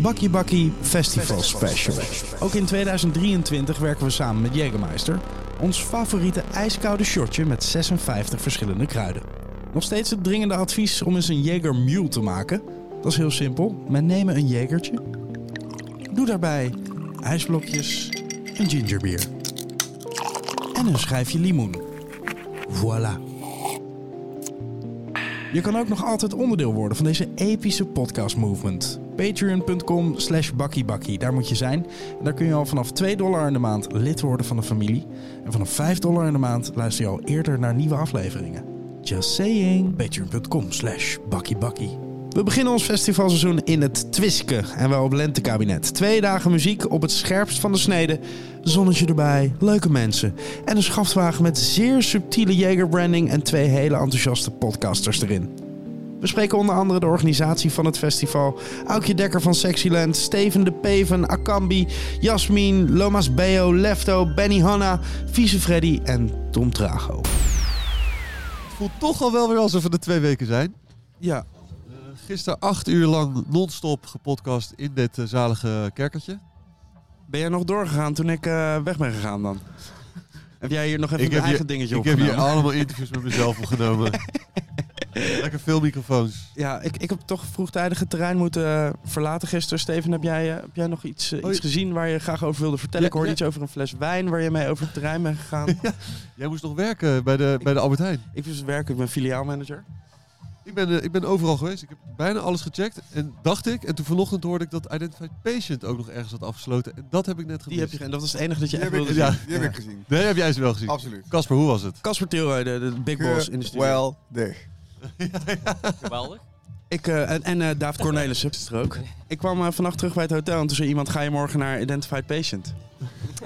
Bakkie Bakkie Festival Special. Ook in 2023 werken we samen met Jägermeister. Ons favoriete ijskoude shotje met 56 verschillende kruiden. Nog steeds het dringende advies om eens een Jäger Mule te maken. Dat is heel simpel. Men nemen een Jägertje. Doe daarbij ijsblokjes, een gingerbeer en een schijfje limoen. Voilà. Je kan ook nog altijd onderdeel worden van deze epische podcast movement. Patreon.com slash bakkiebakkie, daar moet je zijn. En daar kun je al vanaf 2 dollar in de maand lid worden van de familie. En vanaf 5 dollar in de maand luister je al eerder naar nieuwe afleveringen. Just saying. Patreon.com slash bakkiebakkie. We beginnen ons festivalseizoen in het Twiske en wel op Lentekabinet. Twee dagen muziek op het scherpst van de snede. Zonnetje erbij, leuke mensen. En een schaftwagen met zeer subtiele Jagerbranding en twee hele enthousiaste podcasters erin. We spreken onder andere de organisatie van het festival. Aukje Dekker van Sexyland, Steven de Peven, Akambi, Jasmin, Lomas Beo, Lefto, Benny Hanna, Vieze Freddy en Tom Trago. voelt toch al wel weer alsof we er twee weken zijn. Eh, Ja, Gisteren acht uur lang non-stop gepodcast in dit eh, zalige kerkertje. Ben jij nog doorgegaan toen ik eh, weg ben gegaan dan? heb jij hier nog even Ik een heb eigen hier- dingetje Ik op heb hier allemaal interviews met mezelf opgenomen. Lekker veel microfoons. Ja, ik, ik heb toch vroegtijdig het terrein moeten eh, verlaten gisteren. Steven, heb jij, eh, heb jij nog iets, eh, Oh, iets ja. gezien waar je graag over wilde vertellen? Ja, ik hoorde ja. iets over een fles wijn waar je mee over het terrein bent gegaan. Jij moest nog werken bij de, bij de Albert Heijn. ik dus werk, ik ben filiaalmanager. Ik ben, eh, ik ben overal geweest. Ik heb bijna alles gecheckt. En dacht ik, en toen vanochtend hoorde ik dat Identified Patient ook nog ergens had afgesloten. En dat heb ik net Die gemist. heb je, en dat was het enige dat je Die echt heb, ik, wilde ja. zien. gezien. die heb ik gezien. Nee, heb jij ze wel gezien. Absoluut. Casper, hoe was het? Casper Tilray, de, de big boss in de studio. Wel, dig. Geweldig. Ik, eh, en en eh, David Cornelissen is er ook. Ik kwam eh, vannacht terug bij het hotel en toen zei iemand, ga je morgen naar Identified Patient?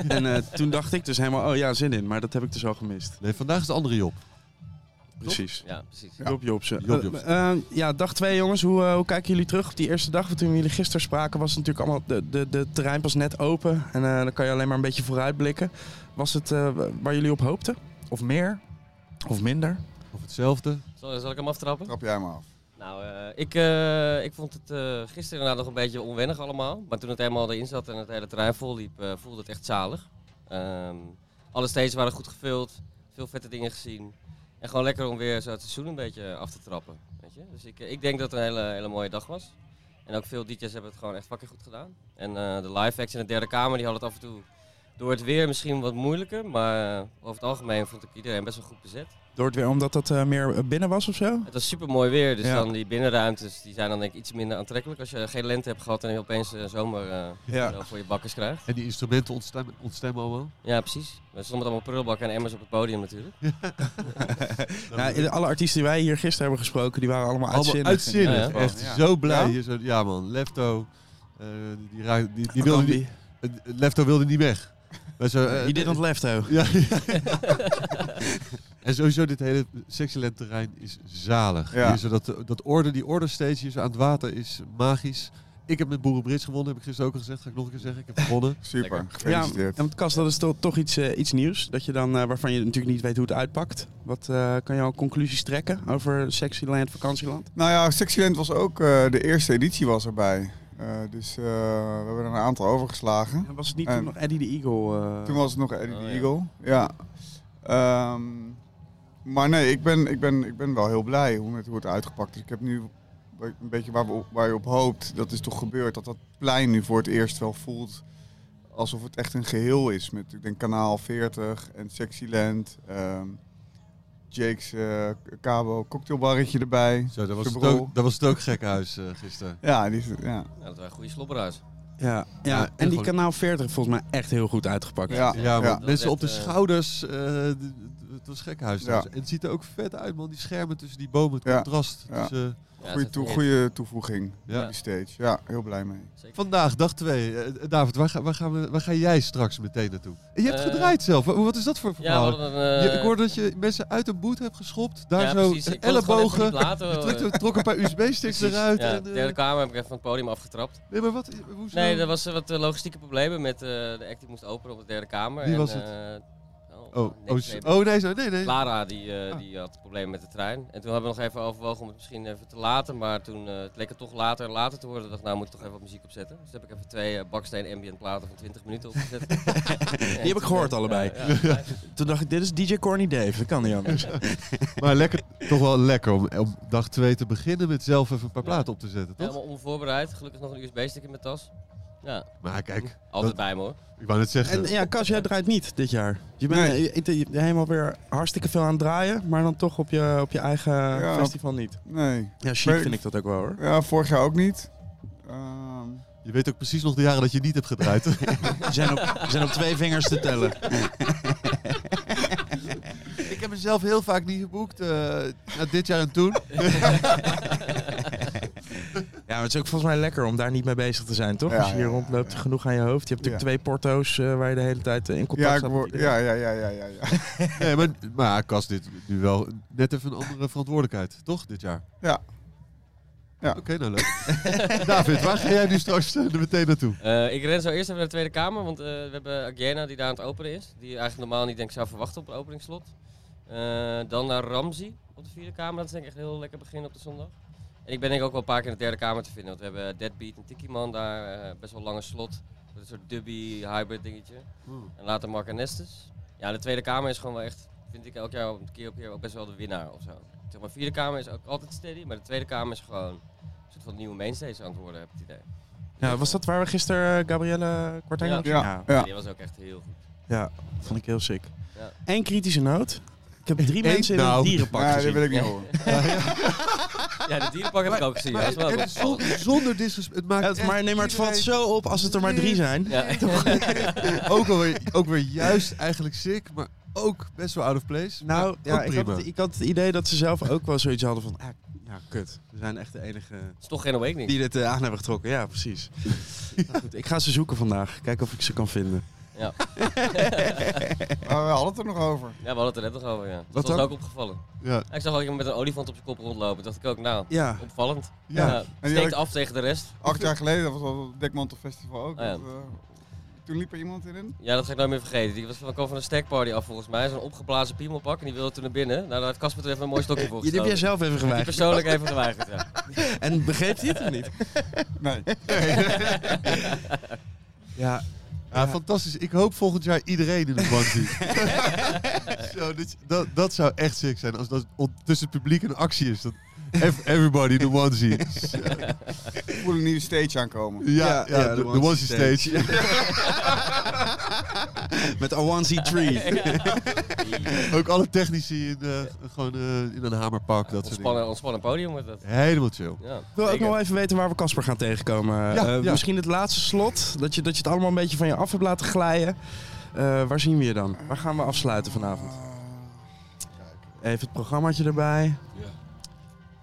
en eh, toen dacht ik dus helemaal, oh ja, zin in. Maar dat heb ik dus al gemist. Nee, vandaag is de andere Job. Precies. Ja, precies. Ja. Job Jobsen. Job Jobsen. Eh, eh, ja, dag twee jongens. Hoe, eh, hoe kijken jullie terug op die eerste dag? Want toen jullie gisteren spraken was het natuurlijk allemaal de, de, de terrein pas net open. En eh, dan kan je alleen maar een beetje vooruitblikken. Was het eh, waar jullie op hoopten? Of meer? Of minder? Of hetzelfde. Zal, zal ik hem aftrappen? Trap jij maar af. Nou, eh, ik, eh, ik vond het eh, gisteren inderdaad nog een beetje onwennig allemaal. Maar toen het helemaal erin zat en het hele terrein vol liep, eh, voelde het echt zalig. Ehm, alle stages waren goed gevuld, veel vette dingen gezien. En gewoon lekker om weer zo het seizoen een beetje af te trappen. Weet je? Dus ik, eh, ik denk dat het een hele, hele mooie dag was. En ook veel DJ's hebben het gewoon echt fucking goed gedaan. En eh, de live acts in de derde kamer, die hadden het af en toe door het weer misschien wat moeilijker. Maar eh, over het algemeen vond ik iedereen best wel goed bezet. Door het weer omdat dat eh, meer binnen was of zo? Het was super mooi weer, dus Ja. dan die binnenruimtes die zijn dan denk ik iets minder aantrekkelijk als je geen lente hebt gehad en je opeens eh, zomer eh, Ja. wel voor je bakkers krijgt. En die instrumenten ontstemmen, ontstemmen allemaal. Ja, precies. We stonden met allemaal prullenbakken en emmers op het podium natuurlijk. Nou, alle artiesten die wij hier gisteren hebben gesproken, die waren allemaal, Allemaal uitzinnig. uitzinnig. Ja, ja. Echt Ja. zo blij. Ja? Ja, zo, ja man, Lefto. eh, die, raak- die, die wilde niet, eh, Lefto wilde niet weg. Maar zo, eh, Die dit aan het left hoor. ja, En sowieso dit hele Sexyland terrein is zalig. Ja. Hier zo dat, eh, dat orde, die orde steeds hier zo aan het water is magisch. Ik heb met Boeren Brits gewonnen, heb ik gisteren ook al gezegd. Ga ik nog een keer zeggen, ik heb gewonnen. Super, Lekker. Ja, gefeliciteerd. en Cas, dat is toch, toch iets, eh, iets nieuws. Dat je dan, eh, waarvan je natuurlijk niet weet hoe het uitpakt. Wat eh, kan je al conclusies trekken over Sexyland, vakantieland? Nou ja, Sexyland was ook, eh, de eerste editie was erbij. Eh, dus eh, we hebben er een aantal overgeslagen. En was het niet Eh, toen nog Eddie de Eagle? eh, Toen was het nog Eddie Oh, the ja. Eagle. Ja. Ehm, maar nee, ik ben, ik, ben, ik ben wel heel blij hoe het, hoe het uitgepakt is. Ik heb nu een beetje waar, we, op- waar je op hoopt. Dat is toch gebeurd. Dat dat plein nu voor het eerst wel voelt alsof het echt een geheel is. Met ik denk Kanaal 40 en Sexyland. ehm, Jake's eh, Cabo cocktailbarretje erbij. Zo, dat was, het Superbowl. ook, dat was het ook gek huis eh, gisteren. Ja, die, is- ja. Nou, dat waren goede slobberaars. ja, ja, Ja, en die gewoon- kanaal 40 is volgens mij echt heel goed uitgepakt. Ja. Ja, man. Dat mensen werd, op de eh, schouders. eh, d- d- het was gek huis. Ja. trouwens. En het ziet er ook vet uit, man. Die schermen tussen die bomen, het Ja. contrast. Ja. Dus, eh, ja, het Goeie, is toe- echt goeie toevoeging ja. op die stage. Ja, heel blij mee. zeker. Vandaag, dag twee. Eh, David, waar ga, waar, gaan we, waar ga jij straks meteen naartoe? En je hebt Eh, gedraaid zelf. Wa- Wat is dat voor Ja, verhaal? we hadden een... Je- eh, ik hoorde dat je mensen uit een boot hebt geschopt. Daar ja, zo precies. een Ik wilde het gewoon even ellebogen. niet laten, Je eh, trok, trok een paar USB-sticks precies. eruit. Ja, en, de eh, derde kamer heb ik even van het podium afgetrapt. nee, maar wat? nou- Hoezo? Nee, er was eh, wat eh, logistieke problemen met eh, de act die moest openen op de derde kamer. Wie en, was het? eh, oh, Oh, Niks oh, mee s- bemoeien. oh nee, zo, nee, nee. Lara die, eh, Ah. die had problemen met de trein. En toen hebben we nog even overwogen om het misschien even te laten. Maar toen eh, het leek het toch later en later te worden. Ik dacht, nou moet ik toch even wat muziek opzetten. Dus heb ik even twee eh, baksteen ambient platen van 20 minuten opgezet. die heb ik gehoord allebei. Ja, ja. Toen dacht ik, dit is DJ Corny Dave. Dat kan niet anders. Maar lekker, toch wel lekker om, om dag 2 te beginnen met zelf even een paar platen op te zetten, toch? Helemaal onvoorbereid. Gelukkig nog een USB-stick in mijn tas. Ja, Maar kijk, altijd bij me hoor. ik wou net zeggen. En ja, Cas, jij draait niet dit jaar. Je bent Nee. eh, je- je- je- helemaal weer hartstikke veel aan het draaien, maar dan toch op je, op je eigen Ja. festival niet. Nee. Ja, chic Maar- vind ik dat ook wel hoor. Ja, vorig jaar ook niet. Ehm, Je weet ook precies nog de jaren dat je niet hebt gedraaid. Ze zijn, op, zijn op twee vingers te tellen. ik heb mezelf heel vaak niet geboekt. eh, nou, dit jaar en toen. Ja, maar het is ook volgens mij lekker om daar niet mee bezig te zijn, toch? Ja, Als je hier ja, ja, rondloopt, ja. genoeg aan je hoofd. Je hebt natuurlijk Ja. twee porto's eh, waar je de hele tijd eh, in contact ja, ik staat. word, ja, ja, ja, ja, ja, ja. Nee, maar, maar Kas, dit nu wel net even een andere verantwoordelijkheid, toch? Dit jaar. Ja. Ja. Oké, nou leuk. David, waar ga jij nu straks eh, er meteen naartoe? Eh, ik ren zo eerst even naar de Tweede Kamer, want eh, we hebben Agiena die daar aan het openen is. Die je eigenlijk normaal niet denk ik, zou verwachten op een openingsslot. Eh, dan naar Ramzi op de Vierde Kamer. Dat is denk ik echt een heel lekker begin op de zondag. En ik ben denk ik ook wel een paar keer in de Derde Kamer te vinden. Want we hebben Deadbeat en Tiki Man daar. eh, best wel lange slot. Met een soort dubby hybrid dingetje. Hmm. En later Mark Anestes. Ja, de Tweede Kamer is gewoon wel echt, vind ik elk jaar op- keer op keer ook best wel de winnaar of zo. Zeg maar, de Vierde Kamer is ook altijd steady. Maar de Tweede Kamer is gewoon een soort van nieuwe mainstage aan het worden, heb ik het idee. Ja, was dat waar we gisteren eh, Gabrielle Quartijn Ja. ook Ja. Ja. Ja. Die was ook echt heel goed. ja, vond ik heel sick. Ja. Eén kritische noot. Ik heb drie Eén? mensen in Nou. een dierenpak Nee, dat gezien. wil ik niet horen. Ja, de dierenpak heb ik ook gezien. Maar- Dat is wel en ook het zon- opgevallen. zonder disrespect. Het maakt Ja, het- echt maar nee, maar het valt iedereen- zo op als het er maar drie zijn. Ja. Ook, alweer, ook weer juist eigenlijk sick, maar ook best wel out of place. Nou, Maar ja, ook ik, prima. had, ik had het idee dat ze zelf ook wel zoiets hadden van... Ah, ja, kut. We zijn echt de enige Het is toch geen awakening. die dit eh, aan hebben getrokken. Ja, precies. Nou goed, ik ga ze zoeken vandaag. Kijken of ik ze kan vinden. Ja. Maar we hadden het er nog over. ja, we hadden het er net nog over. Ja. Wat dat was dan? ook opgevallen. Ja. Ja, ik zag ook iemand met een olifant op zijn kop rondlopen. dacht ik ook, nou, Ja. opvallend. Ja. Ja. die steekt ook- af tegen de rest. Acht jaar geleden, dat was al het Dekmantelfestival ook. Ah, ja. dat, eh, toen liep er iemand in. Ja, dat ga ik nooit meer vergeten. Die was van, kwam van een stackparty af volgens mij. Zo'n opgeblazen piemelpak. En die wilde toen naar binnen. Nou, daar heeft Casper er even een mooi stokje voor Jullie heb jij gestoken. zelf even Die geweigerd. persoonlijk even geweigerd, ja. En begreep hij het of niet? Nee. Ja, Ja, fantastisch. Ik hoop volgend jaar iedereen in de bank zien. Zo, dit- dat, dat zou echt sick zijn. Als dat on- tussen het publiek een actie is. Dat ev- everybody in the onesie. Zo. Ik voel een nieuwe stage aankomen. Ja, ja, de, de onesie stage. Met a onesie tree. Ook alle technici in, eh, gewoon, eh, in een hamerpak. Dat soort dingen. Ontspannen, ontspannen podium wordt dat. Helemaal chill. Ja, Ik wil ook zeker. nog wel even weten waar we Casper gaan tegenkomen. Eh, ja. Misschien het laatste slot. Dat je, dat je het allemaal een beetje van je af hebt laten glijden. Eh, waar zien we je dan? Waar gaan we afsluiten vanavond? Even het programmaatje erbij.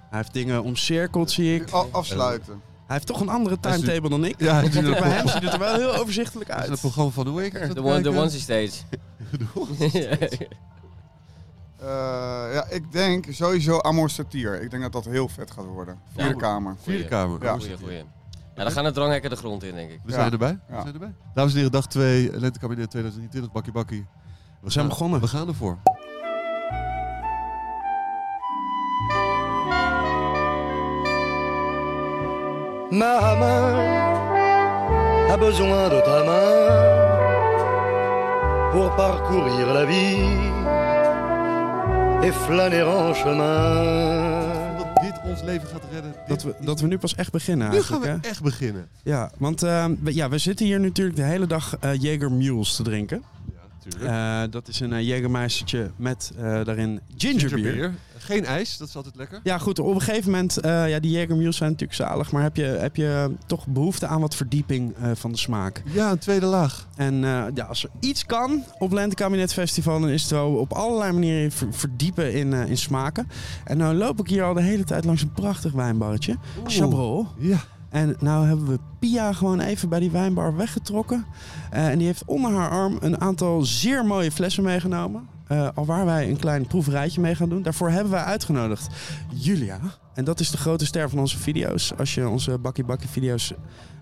Hij heeft dingen omcirkeld, zie ik. A- afsluiten. Hij heeft toch een andere timetable dan ik. Ja, Want natuurlijk. bij hem ziet het er wel heel overzichtelijk Dat is het uit. programma van de week. is dat De, one, de kijken? onesie stage. Eh, ja, ik denk sowieso Amor Satir. Ik denk dat dat heel vet gaat worden. Vierde Ja. kamer. Vierde kamer. Ja. Goeie, goeie. Ja, dan gaan de dranghekken de grond in, denk ik. We zijn Ja. erbij. We Ja. zijn erbij. Dames en heren, dag 2, lentekabinet 2023, bakkie bakkie. We zijn begonnen. We gaan ervoor. Ma main a besoin de ta main pour parcourir la vie et flâner en chemin. Dat dit ons leven gaat redden. Dit- Dat we, dat we nu pas echt beginnen nu gaan eigenlijk. we hè? echt beginnen. Ja, want eh, we, ja, we zitten hier natuurlijk de hele dag eh Jager Mules te drinken. Ja, natuurlijk. Eh, dat is een eh, Jägermeistertje met eh, daarin gingerbeer. Geen ijs, dat is altijd lekker. Ja, goed. Op een gegeven moment, eh, ja, die Jager Mules zijn natuurlijk zalig. Maar heb je, heb je ehm, toch behoefte aan wat verdieping eh, van de smaak? Ja, een tweede laag. En eh, ja, als er iets kan op Lentekabinet Festival, dan is het wel op allerlei manieren je ver- verdiepen in, eh, in smaken. En nou loop ik hier al de hele tijd langs een prachtig wijnbarretje. Chabrol. Ja. En nou hebben we Pia gewoon even bij die wijnbar weggetrokken. Eh, en die heeft onder haar arm een aantal zeer mooie flessen meegenomen. Eh al waar wij een klein proeverijtje mee gaan doen. Daarvoor hebben wij uitgenodigd Julia. En dat is de grote ster van onze video's. Als je onze bakkie bakkie video's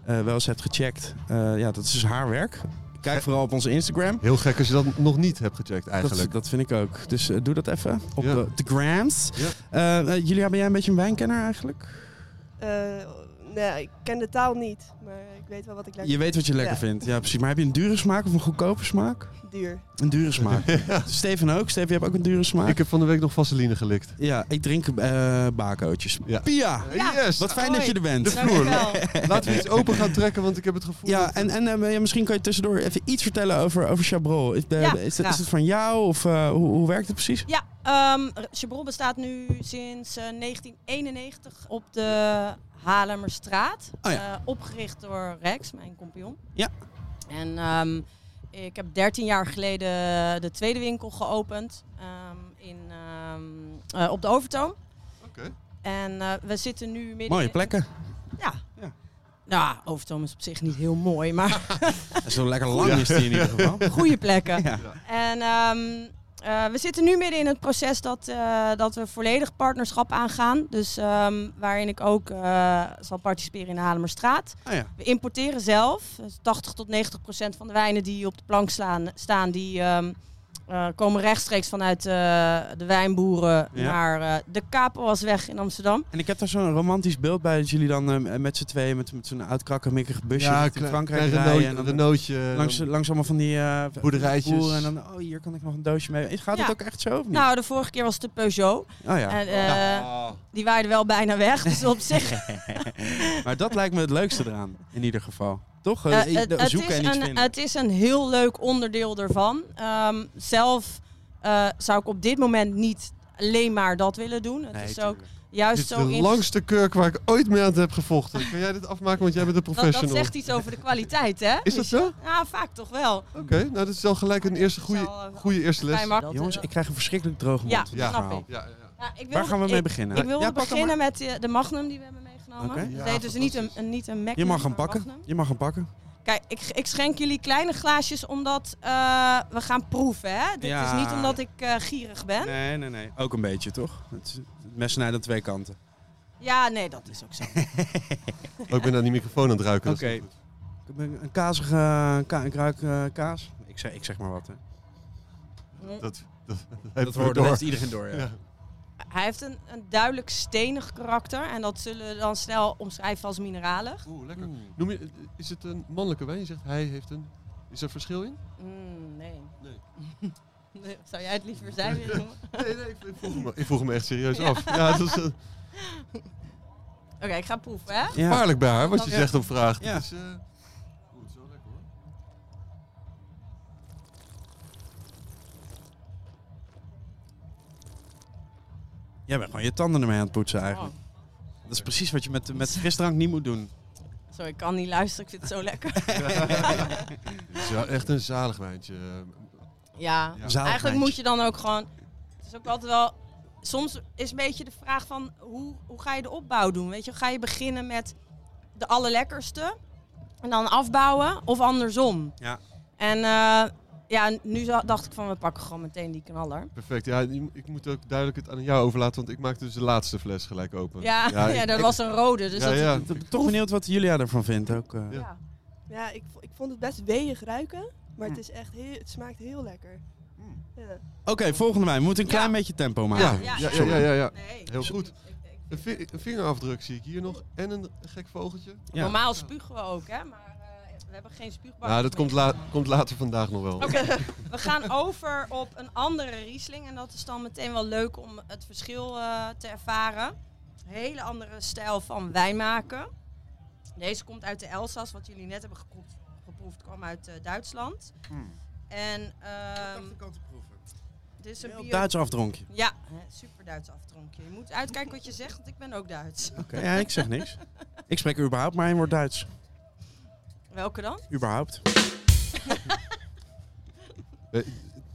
eh, wel eens hebt gecheckt. eh, ja, dat is haar werk. Kijk vooral op onze Instagram. Heel gek als je dat nog niet hebt gecheckt Dat, eigenlijk. dat vind ik ook. Dus eh, doe dat even op Ja. de, de grams. Ja. Eh, eh, Julia, ben jij een beetje een wijnkenner eigenlijk? Eh, nee, ik ken de taal niet, maar ik weet wel wat ik lekker Je weet wat je lekker Ja. vindt. Ja, precies. Maar heb je een dure smaak of een goedkope smaak? duur. Een dure smaak. Steven ook. Steven, je hebt ook een dure smaak. Ik heb van de week nog vaseline gelikt. Ja, ik drink eh bakootjes. Ja. Pia, Yes! wat fijn Hoi. dat je er bent. Dankjewel. Laten we iets open gaan trekken, want ik heb het gevoel... Ja, dat- en, en eh, ja, misschien kan je tussendoor even iets vertellen over, over Chabrol. Is, eh, Ja, is, het, graag. is het van jou of eh, hoe, hoe werkt het precies? Ja, ehm Chabrol bestaat nu sinds eh, 1991 op de Haarlemmerstraat. Oh ja. Eh, opgericht door Rex, mijn compagnon. Ja. En ehm, ik heb 13 jaar geleden de tweede winkel geopend ehm, in, ehm, eh, op de Overtoom. Oké. En eh, we zitten nu midden... Mooie in- plekken. Ja. Ja. Nou, Overtoom is op zich niet heel mooi, maar Zo lekker lang is die in ieder geval. goede plekken. Ja. En ehm, eh, we zitten nu midden in het proces dat, eh, dat we volledig partnerschap aangaan. Dus ehm, waarin ik ook eh, zal participeren in de Halemerstraat. Ah, ja. We importeren zelf. Dus 80 tot 90 procent van de wijnen die op de plank slaan, staan, die ehm, eh, komen rechtstreeks vanuit eh, de wijnboeren Ja. naar eh, de Kapelwasweg in Amsterdam. En ik heb daar zo'n romantisch beeld bij dat jullie dan eh, met z'n tweeën met, met zo'n oud krakkemikkig busje Ja, in klein- Frankrijk klein rijden. Renault- en dan Renaultje. langs, dan- langs allemaal van die eh, Boerderijtjes. boeren En dan, oh, hier kan ik nog een doosje mee. Gaat het Ja. ook echt zo of niet? Nou, de vorige keer was het de Peugeot. oh ja. En, eh, Die waaide wel bijna weg. Dus op zich Maar dat lijkt me het leukste eraan, in ieder geval. Toch? Eh, Eh, het, het zoeken is en iets een, vinden. het is een heel leuk onderdeel ervan. Ehm, zelf eh, zou ik op dit moment niet alleen maar dat willen doen. Het Nee, is ook tuurlijk. juist Dit is de zo in- langste kurk waar ik ooit mee aan heb gevochten. Kan jij dit afmaken, want jij bent een dat, dat professional. zegt iets over de kwaliteit, hè? Is dat zo? Ja, vaak toch wel. Oké, nou dat is al gelijk een eerste Dat is al, goede, eh, goede eerste les. Fijn, maar- Jongens, ik krijg een verschrikkelijk droge mond. Ja, van dit ja. snap verhaal. ik. Ja, ja, ja. Nou, ik wil- Waar gaan we mee ik- beginnen? Ik wilde Ja, pak hem beginnen met eh, de Magnum die we hebben meegenomen. Oké. Dat Ja, heet dus niet een, fantastisch. een, niet een Magnum, Je mag hem maar een pakken. Magnum. Je mag hem pakken. Kijk, ik, ik schenk jullie kleine glaasjes omdat eh, we gaan proeven, hè? Dit Ja. is niet omdat ik eh, gierig ben. Nee, nee, nee. Ook een beetje, toch? Het, is- het mes snijdt aan twee kanten. Ja, nee, dat is ook zo. Oh, ik ben aan die microfoon aan het ruiken. dat is Oké. niet goed. Ik heb Een, een kazige... eh, Ka ik ruik eh, kaas. Ik zeg, ik zeg maar wat, hè. Dat, dat, Dat door. hoort door. iedereen door, ja. Hij heeft een, een duidelijk stenig karakter en dat zullen we dan snel omschrijven als mineralig. Oeh, lekker. Noem je, eh, is het een mannelijke wijn? Je zegt hij heeft een... Is er verschil in? Mm, nee. Nee. Nee, Zou jij het liever zijn willen noemen? Nee, nee, ik, ik vroeg, me, ik vroeg me echt serieus af. Ja, dat is eh, Oké, ik ga proeven, hè? Ja. gevaarlijk bij haar, wat je Ja. zegt op vraag. Ja. Dat is, eh, oeh, het is wel lekker hoor. Jij bent gewoon je tanden ermee aan het poetsen, eigenlijk. Oh. Dat is precies wat je met, met frisdrank niet moet doen. Zo, ik kan niet luisteren, ik vind het zo lekker. Het is wel echt een zalig wijntje. eh, Ja, Zalig eigenlijk wijntje. moet je dan ook gewoon... Het is ook altijd wel... Soms is een beetje de vraag van hoe, hoe ga je de opbouw doen? Weet je, ga je beginnen met de allerlekkerste en dan afbouwen of andersom? Ja. En eh, ja, nu za- dacht ik van we pakken gewoon meteen die knaller. Perfect. Ja, je- ik moet ook duidelijk het aan jou overlaten, want ik maakte dus de laatste fles gelijk open. Ja, ja, ik- dat ik- was een rode. Dus ja, dat, ja. Ik ben Toch benieuwd wat Julia ervan vindt ook. eh. Ja. ja. Ja, ik, vo- ik vond het best weeg ruiken, maar het, is echt heel, het smaakt heel lekker. Mm. Ja. Oké, volgende wijn. We moeten een klein Ja. beetje tempo Ja, maken. ja, ja, ja, ja, ja. Nee. Heel goed. Een, vi- een vingerafdruk zie ik hier nog en een gek vogeltje. Ja. Normaal spugen we ook, hè? Maar eh, we hebben geen spuugbak. Nou, dat komt, la- komt later vandaag nog wel. Oké, we gaan over op een andere Riesling. En dat is dan meteen wel leuk om het verschil eh, te ervaren. Een hele andere stijl van wijn maken. Deze komt uit de Elsass, wat jullie net hebben geproefd, geproefd kwam uit eh, Duitsland. Hmm. En ehm dit is een bio- Duits afdronkje. Ja, hè, super Duits afdronkje. Je moet uitkijken wat je zegt, want ik ben ook Duits. Oké, ja, ik zeg niks. Ik spreek überhaupt maar één woord Duits. Welke dan? Überhaupt. Eh,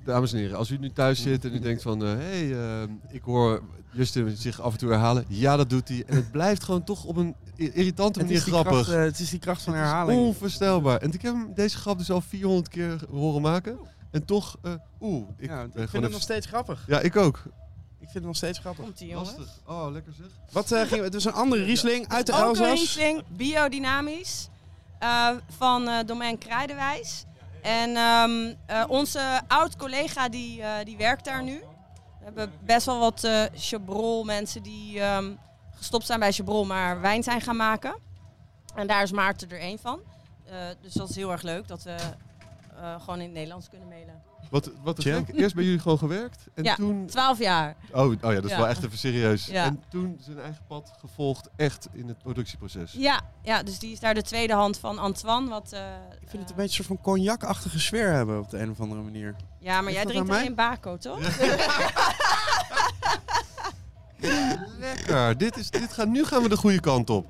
Dames en heren, als u nu Mm. thuis zit en u denkt van... Hé, hey, ehm, ik hoor Justin zich af en toe herhalen. Ja, dat doet hij. En het blijft gewoon toch op een i- irritante Het manier is, die grappig. kracht, eh, het is die kracht van Het is herhaling. onvoorstelbaar. En ik heb hem deze grap dus al 400 keer horen maken. En toch, eh, oeh, ik Ja, ik ben vind gewoon het even... nog steeds grappig. Ja, ik ook. Ik vind het nog steeds grappig. Komt die jongen. Lastig. Oh, lekker zeg. Wat eh, ging... Het is een andere Riesling uit de Ook een Elzas. Riesling, biodynamisch, eh, van eh Domein Kruidenwijs. En ehm, eh, onze oud-collega die, eh, die werkt daar nu. We hebben best wel wat eh Chabrol mensen die ehm, gestopt zijn bij Chabrol, maar wijn zijn gaan maken. En daar is Maarten er één van. Eh, dus dat is heel erg leuk dat we eh, gewoon in het Nederlands kunnen mailen. Wat, wat te Chill. gek. Eerst bij jullie gewoon gewerkt. En Ja. toen... Twaalf jaar. Oh, oh ja, dat is Ja. wel echt even serieus. Ja. En toen zijn eigen pad gevolgd echt in het productieproces. Ja, ja, dus die is daar de tweede hand van Antoine. Wat, eh, Ik vind het eh, een beetje een soort van cognac-achtige sfeer hebben op de een of andere manier. Ja, maar Ligt jij dat drinkt aan alleen Baco, toch? Lekker. Dit, is, dit gaat, nu gaan we de goede kant op.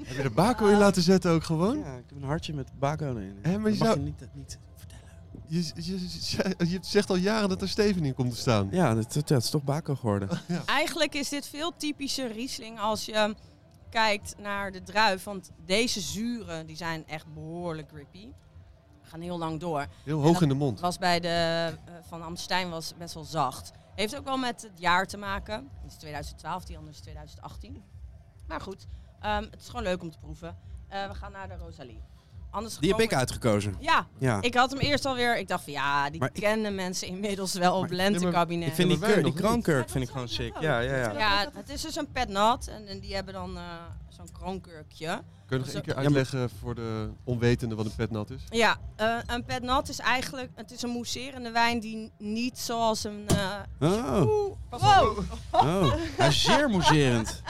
Heb je de bako in laten zetten ook gewoon? Ja, ik heb een hartje met bacon in. Hè, maar je Dat mag zou- je niet, niet vertellen. Je, je, je, je zegt al jaren dat er Steven in komt te staan. Ja, dat, dat- dat is toch bacon geworden. Eigenlijk is dit veel typischer Riesling als je kijkt naar de druif. Want deze zuren die zijn echt behoorlijk grippy. Gaan heel lang door. Heel hoog in de mond. Was bij de eh, van Amstein was best wel zacht. Heeft ook wel met het jaar te maken. Dit is 2012, die anders is 2018. Maar goed, ehm, het is gewoon leuk om te proeven. Eh, we gaan naar de Rosalie. Anders Die heb gewoon ik uitgekozen. met- Ja, Ja. ik had hem eerst alweer. Ik dacht van ja, die Maar ik- kennen mensen inmiddels wel op Maar- lentekabinet. Ik vind die, maar wij keur, die nog niet. kraankurk Ja, vind ik dat gewoon zou ik Oh. sick. ook. Ja, ja, ja. Ja, het is dus een petnat en, en die hebben dan eh, zo'n kroonkurkje. Kun je nog één keer Ja, maar- uitleggen voor de onwetende wat een petnat is? Ja, eh, een petnat is eigenlijk, het is een mousserende wijn die niet zoals een... eh, Oh, wow, oh. Hij is zeer moeserend.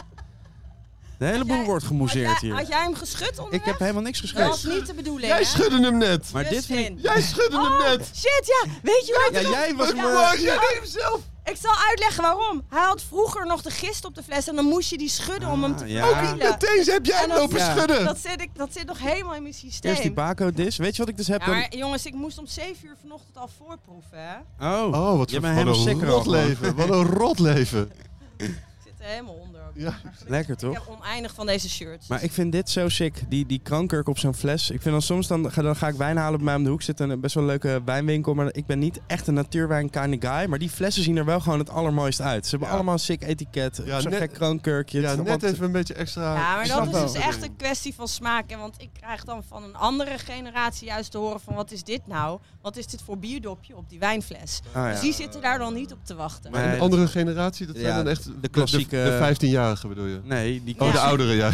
De hele boel jij- wordt had jij, gemoeseerd had hier. jij hem geschud onder? Ik heb helemaal niks Dat geschreven. was niet de bedoeling, Jij hè? Oh, schudde hem net! Maar dit vind ik... Justin. Jij schudde hem net! Shit, ja, weet je wat? Ja, jij was... Wat me- was jij deed hem zelf? Ik zal uitleggen waarom. Hij had vroeger nog de gist op de fles en dan moest je die schudden om hem te Ah, ja. verbielen. Meteen heb jij En hem dat- lopen Ja. schudden! Dat zit, ik, dat zit nog helemaal in mijn systeem. Eerst die Baco-dis. Weet je wat ik dus heb? ja, maar jongens, ik moest om 7 uur vanochtend al voorproeven, hè? Oh, Oh, wat, Je voor, bent wat een helemaal sikker al rot leven. Wat een rot leven. Ik zit er helemaal onder. ook. Ja. Maar gelukkig- lekker Ik toch? heb oneindig van deze shirts. Maar ik vind dit zo sick, die, die krankkurk op zo'n fles. Ik vind dan soms, dan ga, dan ga ik wijn halen op mij om de hoek. Zit een best wel leuke wijnwinkel, maar ik ben niet echt een natuurwijn kind of guy. Maar die flessen zien er wel gewoon het allermooist uit. Ze hebben Ja. allemaal een sick etiket, Ja, zo'n net- gek kraankurkje. Ja, Het is net allemaal- even een beetje extra... Ja, maar Ik dat snap is wel. dus echt een kwestie van smaak. En want ik krijg dan van een andere generatie juist te horen van... wat is dit nou? Wat is dit voor bierdopje op die wijnfles? Ah, Dus ja. die zitten daar dan niet op te wachten. Maar- Maar Nee, een andere generatie, dat Ja, zijn dan echt de, klassieke- De, de 15-jarigen bedoel je? Nee, die Oh, Ja. de oudere, ja.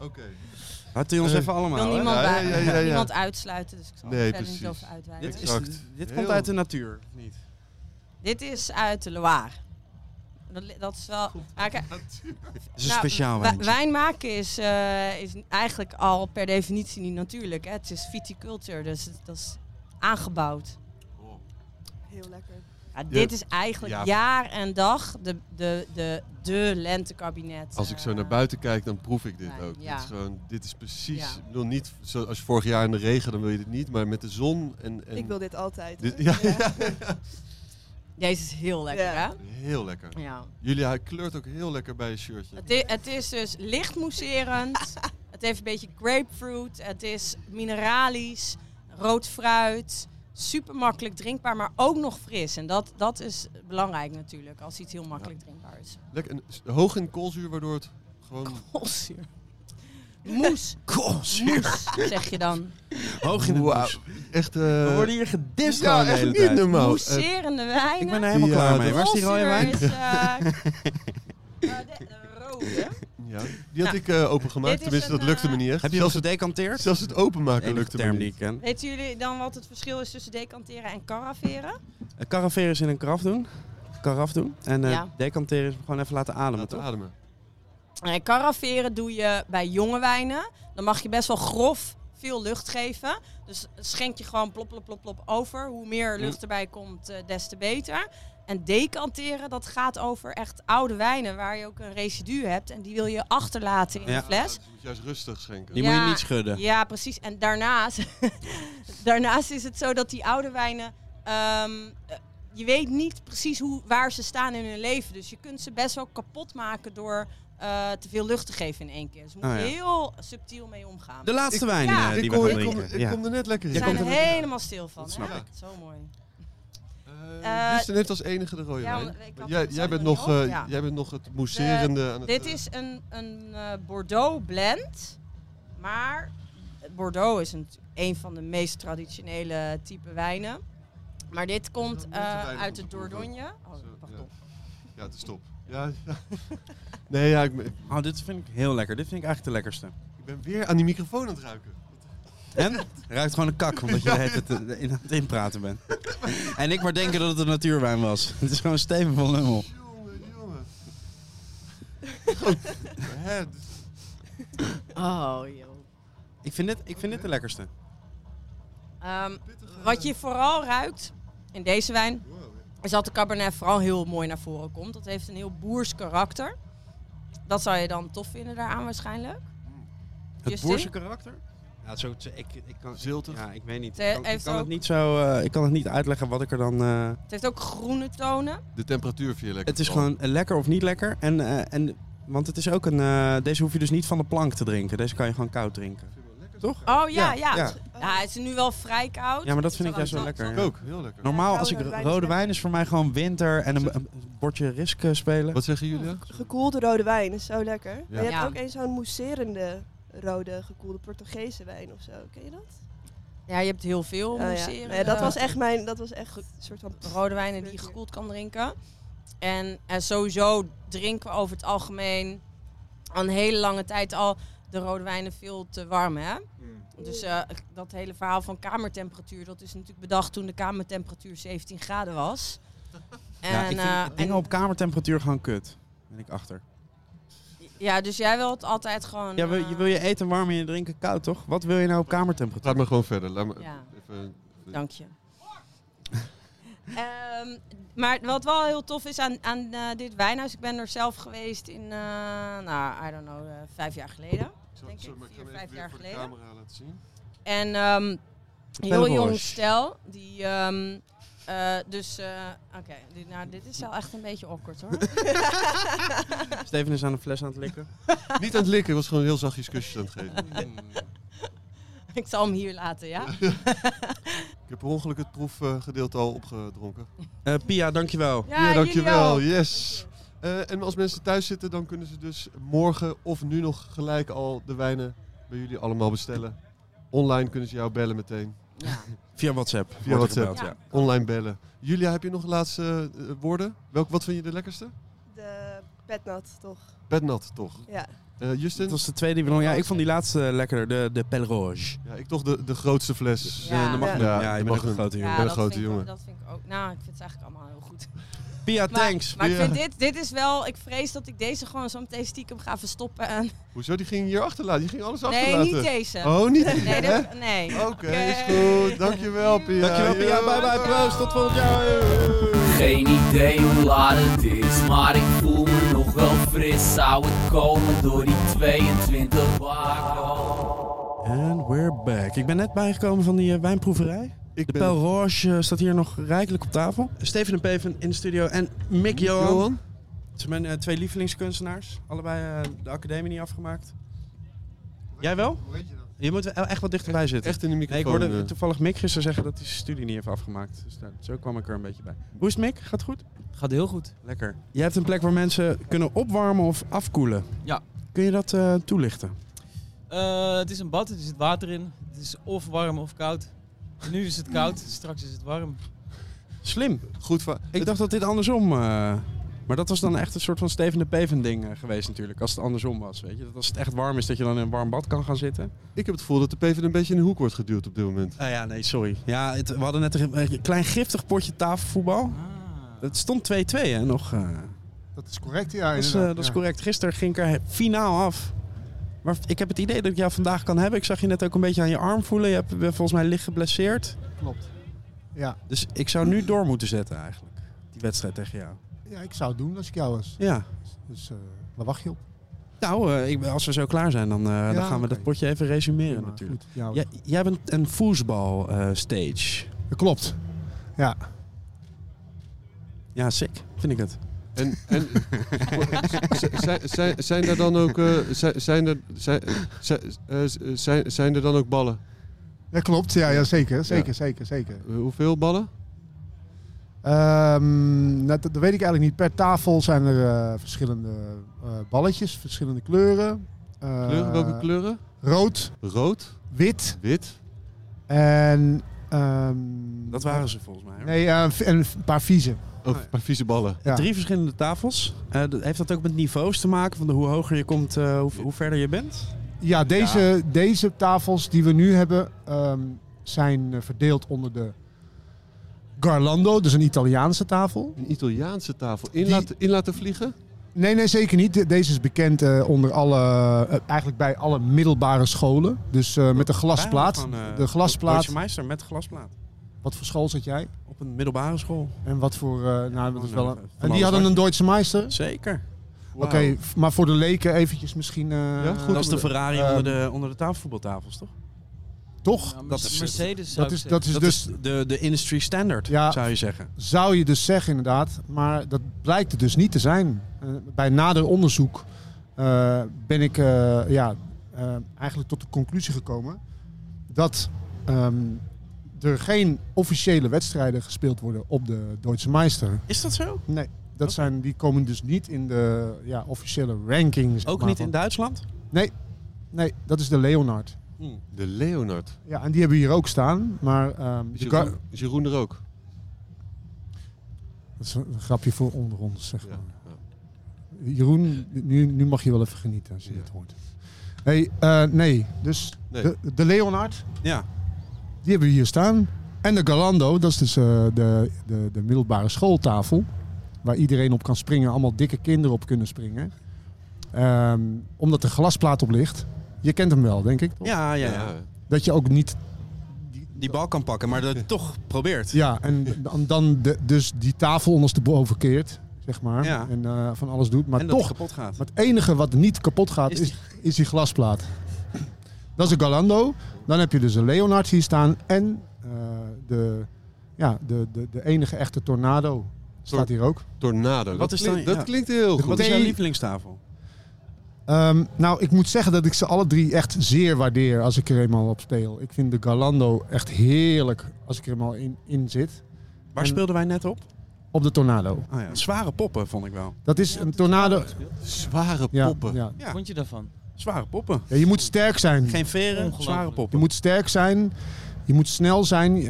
Oké. had hij ons Eh, even Ik allemaal. wil hè? niemand, Ja, bij- ja, ja, ja, ja. niemand uitsluiten, dus ik zal Nee, er verder precies. niet over uitweiden. Dit, Dit is, is, Exact. dit Heel- komt uit de natuur, of niet? uit de Loire. Dat, li- dat is wel... Ah, kijk, Het is een nou, speciaal wi- wijn. Wijn maken is, eh, is eigenlijk al per definitie niet natuurlijk. Hè? Het is viticulture, dus het- dat is aangebouwd. Heel lekker. Ja, dit is eigenlijk ja. jaar en dag de, de, de, de lentekabinet. Als ik zo eh, naar buiten kijk, dan proef ik dit fijn, ook. ja. Dit, is gewoon, dit is precies... Ja. Ik bedoel, niet zo, als je vorig jaar in de regen, dan wil je dit niet. Maar met de zon en... en Ik wil dit altijd. dit, hoor. ja, ja. Deze is heel lekker, Ja. Heel lekker. hè? Ja. Jullie, hij kleurt ook heel lekker bij je shirtje. Het, i- het is dus licht mousserend. het heeft een beetje grapefruit. Het is mineralisch, rood fruit. Super makkelijk drinkbaar, maar ook nog fris. En dat, dat is belangrijk natuurlijk, als iets heel makkelijk drinkbaar is. Lekker, en s- hoog in koolzuur, waardoor het gewoon... Koolzuur. Moes, moes, zeg je dan. Hoog in de Wauw. moes. Echt... eh, We worden hier gedist gewoon ja, de echt hele niet tijd. normaal. Eh, Mousserende wijnen. Ik ben er helemaal Ja, klaar dat- mee. Waar is die rode wijn? Rolls-Royce, eh, eh, de- de rode. Ja, die had Nou, ik eh, opengemaakt. dit is Tenminste, een, dat lukte me eh, niet echt. Heb je hem zelfs, het, gedecanteerd? zelfs het De openmaken enige lukte me term die ik niet. ken. Weten jullie dan wat het verschil is tussen decanteren en caraferen? Eh, Caraferen is in een karaf doen. Karaf doen. En eh, Ja. decanteren is gewoon even laten ademen, Laten toch? ademen. Eh, Caraferen doe je bij jonge wijnen. Dan mag je best wel grof veel lucht geven. Dus schenk je gewoon plop, plop, plop, plop over. Hoe meer lucht erbij komt, eh, des te beter. En decanteren, dat gaat over echt oude wijnen waar je ook een residu hebt. En die wil je achterlaten in Ja. de fles. Dus je moet juist rustig schenken. Die Ja. moet je niet schudden. Ja, precies. En daarnaast, daarnaast is het zo dat die oude wijnen. ehm, eh, je weet niet precies hoe, waar ze staan in hun leven. Dus je kunt ze best wel kapot maken door eh, te veel lucht te geven in één keer. Dus je moet Ah, ja. heel subtiel mee omgaan. De laatste Ik- wijn Ja. eh, die ik we kom, gaan ik, kom, drinken. ik Ja. kom er net lekker in. Ze zijn er Eh, helemaal stil van. Dat hè? snap Ja, Zo mooi. Eh, Justin heeft als enige de rode ja, wijn. want ik had Jij, het jij, zelf bent nog, nog niet eh, op, ja. jij bent nog het Eh, eh, mousserende aan het... Dit eh, is een, een eh, Bordeaux blend, maar Bordeaux is een, een van de meest traditionele type wijnen. Maar dit komt moeten eh, wijnen uit de goed proeven. Dordogne. Oh, Zo, wacht ja. op. Ja, het is top. Ja, ja. Nee, ja, ik, ben- Oh, dit vind ik heel lekker. Dit vind ik eigenlijk de lekkerste. ik ben weer aan die microfoon aan het ruiken. En? Ruikt gewoon een kak, omdat je de hele tijd, eh, in aan het inpraten bent. En ik maar denken dat het een natuurwijn was. Het is gewoon Steven van Lummel. Jongen, jongen. Hè, dus- Oh, joh. Ik vind dit, ik vind dit de lekkerste. Ehm, wat je vooral ruikt in deze wijn, is dat de Cabernet vooral heel mooi naar voren komt. Dat heeft een heel boers karakter. Dat zou je dan tof vinden daaraan waarschijnlijk. Mm. Het Justin? boerse karakter? Ja, zo, ik, ik kan, Ziltig. Ja, ik weet niet. Eh, Ik kan, ik heeft kan het ook- niet zo, eh, ik kan het niet uitleggen wat ik er dan... eh, Het heeft ook groene tonen. De temperatuur viel lekker. Het is Oh. gewoon eh, lekker of niet lekker. En, eh, en, want het is ook een... eh, deze hoef je dus niet van de plank te drinken. Deze kan je gewoon koud drinken. Toch? Oh ja, ja. Ja, ja. Ja, het is nu wel vrij koud. Ja, maar dat vind ik wel juist wel interessant. lekker. Ook, ja. heel lekker. Normaal Ja, als ik rode wijn is rode lekker. wijn is voor mij gewoon winter en een, een bordje risk eh, spelen. Wat zeggen jullie? Gekoelde rode wijn is zo lekker. Maar je hebt Ja. ook eens zo'n mousserende rode gekoelde Portugese wijn of zo. Ken je dat? Ja, je hebt heel veel Oh, ja. mousserende- Nee, dat was echt mijn, dat was echt een soort van... rode wijnen die je gekoeld kan drinken. En, eh, sowieso drinken we over het algemeen al een hele lange tijd al de rode wijnen veel te warm. Hè? Dus eh, dat hele verhaal van kamertemperatuur, dat is natuurlijk bedacht toen de kamertemperatuur 17 graden was. En, ja, ik vind eh, en- dingen op kamertemperatuur gewoon kut. Ben ik achter. ja, dus jij wilt altijd gewoon. Ja, wil, eh, je, wil je eten warm en je drinken koud, toch? Wat wil je nou op kamertemperatuur? Laat maar gewoon verder. Laat me Ja. even... Dank je. Ehm, maar wat wel heel tof is aan, aan eh, dit wijnhuis, ik ben er zelf geweest in, eh, nou, I don't know, eh, vijf jaar geleden. Zo, Denk ik, maar vier, kan vijf even jaar voor de geleden. camera laten zien. En ehm, een heel Pelle jong Bosch. stel, die, ehm, eh, dus, eh, oké, dit- nou, dit is wel echt een beetje awkward hoor. Steven is aan de fles aan het likken. Niet aan het likken, was gewoon heel zachtjes kusjes aan het geven. ik zal hem hier laten, ja? Ik heb per ongeluk het proefgedeelte al opgedronken. Eh, Pia, dankjewel. Ja, dankjewel. Yes. Eh, en als mensen thuis zitten, dan kunnen ze dus morgen of nu nog gelijk al de wijnen bij jullie allemaal bestellen. Online kunnen ze jou bellen meteen. Ja. Via WhatsApp. wordt Via er WhatsApp. gebeld, ja. Online bellen. Julia, heb je nog laatste eh, woorden? Welk, wat vind je de lekkerste? De petnat, toch? Bednat, toch? Ja. Eh, Justin? Dat was de tweede die we nog... Ja, ik vond die laatste eh, lekkerder. De, de Pelle Rouge. Ja, ik toch de, de grootste fles. Ja. Eh, de Magnum. Ja, Ja, de je bent ook Magnum. een grote jongen. ben een dat grote vind ik jongen. ook- dat vind ik ook. Nou, ik vind het eigenlijk allemaal heel goed. Pia, Maar- thanks. Maar, Ja. ik vind dit, dit is wel, ik vrees dat ik deze gewoon zo meteen stiekem ga verstoppen. En Hoezo? Die ging hier achterlaten. Die ging alles nee, achterlaten. niet deze. Oh, niet Nee, hè? Oh. dat, nee. Oké, is goed. Dankjewel, Pia. Dankjewel Pia. Bye bye. Proost. Tot volgend jaar. Geen idee hoe laat het is, maar ik voel me nog wel fris. Zou het komen door die 22 bakken? And we're back. Ik ben net bijgekomen van die eh, wijnproeverij. Ik de ben- Pel Roche eh, staat hier nog rijkelijk op tafel. Steven en Peven in de studio en Mick Johan. Johan? Het zijn mijn eh, twee lievelingskunstenaars. Allebei eh, de academie niet afgemaakt. Jij wel? Je moet wel echt wat dichterbij zitten. Echt in de Nee, ik microfoon. hoorde eh. toevallig Mick gisteren zeggen dat hij zijn studie niet heeft afgemaakt. Dus daar- zo kwam ik er een beetje bij. Hoe is het Mick? Gaat het goed? Gaat heel goed. Lekker. Jij hebt een plek waar mensen kunnen opwarmen of afkoelen. Ja. Kun je dat eh, toelichten? Eh, het is een bad, er zit water in. Het is of warm of koud. Nu is het koud, straks is het warm. Slim. Goed va- Ik dacht dat dit andersom. eh, maar dat was dan echt een soort van Steven de Peven ding eh, geweest natuurlijk. Als het andersom was, weet je. Dat als het echt warm is, dat je dan in een warm bad kan gaan zitten. Ik heb het gevoel dat de PVV een beetje in de hoek wordt geduwd op dit moment. Ah ja, nee, sorry. Ja, het- we hadden net een, een klein giftig potje tafelvoetbal. Ah. Het stond 2-2 hè, nog. eh. Dat is correct, ja. dat, is, eh, inderdaad, dat is ja. correct. Gisteren ging ik er he- finaal af. Maar ik heb het idee dat ik jou vandaag kan hebben. Ik zag je net ook een beetje aan je arm voelen. Je hebt eh, volgens mij licht geblesseerd. Klopt. Ja. Dus ik zou nu door moeten zetten eigenlijk. Die wedstrijd tegen jou. ja, ik zou het doen als ik jou was. Ja. Dus eh, waar wacht je op? Nou, eh, ik, als we zo klaar zijn, dan, eh, dan gaan we oké. dat potje even resumeren Prima, natuurlijk. Goed, ja, Jij, jij bent een voetbalstage. stage. dat klopt. Ja. ja, sick. Vind ik het. En, en Z- zijn- zijn- zijn er dan ook eh, zijn- zijn er- zijn- zijn- eh, zijn- zijn er dan ook ballen? Dat klopt, ja, ja zeker. Zeker, zeker, zeker. Eh, Hoeveel ballen? Ehm, dat, dat weet ik eigenlijk niet. Per tafel zijn er eh, verschillende eh, balletjes, verschillende kleuren. Eh, Kleuren? Welke kleuren? rood, Rood, wit wit. en... ehm, Dat waren ze volgens mij. hoor. Nee, eh, en een paar vieze. Oh. Of een paar Oh, vieze ballen. Ja. Drie verschillende tafels. Eh, dat- heeft dat ook met niveaus te maken? Van de, hoe hoger je komt, eh, hoe, hoe verder je bent? Ja, deze, deze tafels die we nu hebben ehm, zijn eh, verdeeld onder de Garlando, dus een Italiaanse tafel. Een Italiaanse tafel. In, Die- laten, in laten vliegen? Nee, nee, zeker niet. De- Deze is bekend eh, onder alle, eh, eigenlijk bij alle middelbare scholen. Dus eh, met een glasplaat. Oh, Van, eh, De glasplaat. Roosje Meister met glasplaat. Wat voor school zat jij? Op een middelbare school. Oh, En wat voor... eh, nou, dat is wel een- Van en alles die hadden wat. een Duitse meister? Zeker. Oké, f- maar voor de leken eventjes misschien... eh, Ja, goed. Dat is de Ferrari Eh, onder, de, onder de tafelvoetbaltafels, toch? Toch? Nou, dat is- dus- Mercedes zou Dat ik is, zeggen. dat is dat dus... is de, de industry standard, Ja. zou je zeggen. Zou je dus zeggen, inderdaad. Maar dat blijkt het dus niet te zijn. Eh, bij nader onderzoek eh, ben ik eh, ja, eh, eigenlijk tot de conclusie gekomen dat ehm, er geen officiële wedstrijden gespeeld worden op de Duitse Meister. Is dat zo? Nee, dat zijn, die komen dus niet in de ja, officiële rankings. Ook niet in Duitsland? Hmm. Nee, dat is de Leonard. De Leonard. Ja, en die hebben we hier ook staan. Maar ehm, Is de gar- Jeroen, is Jeroen er ook? dat is een grapje voor onder ons, zeg maar. Ja. Jeroen, nu, nu mag je wel even genieten als je Ja. dit hoort. Hey, eh, nee, dus Nee. De, de Leonard, Ja. die hebben we hier staan. En de Galando, dat is dus eh, de, de, de middelbare schooltafel. Waar iedereen op kan springen, allemaal dikke kinderen op kunnen springen. Ehm, omdat er glasplaat op ligt. Je kent hem wel, denk ik. toch? Ja, ja, ja. Ja. Dat je ook niet... Die bal kan pakken, maar dat je toch probeert. Ja, en dan, dan de, dus die tafel ondersteboven keert, zeg maar. Ja. En eh, van alles doet. Maar en dat toch het kapot gaat. Maar het enige wat niet kapot gaat Is is, die- is, die... glasplaat. Dat is een Galando. Dan heb je dus een Leonard hier staan. En eh, de, ja, de, de, de enige echte Tornado staat hier ook. Tornado. Wat dat is klinkt, dan- dat ja. klinkt heel goed. Wat is jouw lievelingstafel? Ehm, nou, ik moet zeggen dat ik ze alle drie echt zeer waardeer als ik er eenmaal op speel. Ik vind de Galando echt heerlijk als ik er eenmaal in, in zit. Waar En- speelden wij net op? Op de Tornado. Ah ja, zware poppen vond ik wel. Dat is een Tornado. Zware Ja, poppen. ja. Ja. Wat vond je daarvan? Zware poppen. Ja, je moet sterk zijn. Geen veren, Ongelooflijk. zware Je poppen. moet sterk zijn, je moet snel zijn, eh,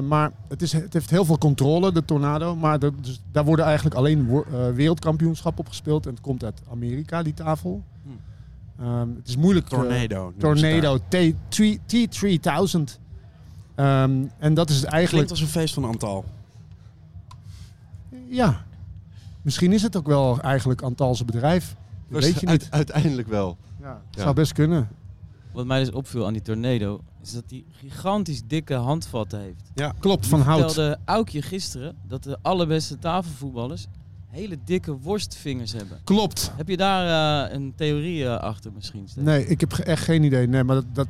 maar het, is, het heeft heel veel controle, de tornado. Maar dat, dus, daar worden eigenlijk alleen wo- eh, wereldkampioenschappen op gespeeld. En het komt uit Amerika, die tafel. Ehm, het is moeilijk. eh, Tornado. tornado T- T- T3000. Ehm, en dat is Klinkt eigenlijk... als een feest van Antal. Ja, misschien is het ook wel eigenlijk Antalse bedrijf. Dat weet je Waarschijnlijk- niet. uiteindelijk wel. Ja, Ja. Zou best kunnen. Wat mij dus opviel aan die tornado, is dat die gigantisch dikke handvatten heeft. Klopt, van hout. Vertelde Aukje gisteren dat de allerbeste tafelvoetballers hele dikke worstvingers hebben. Klopt. Heb je daar eh, een theorie eh, achter misschien? Stef? Nee, ik heb ge- echt geen idee. Nee, maar dat, dat,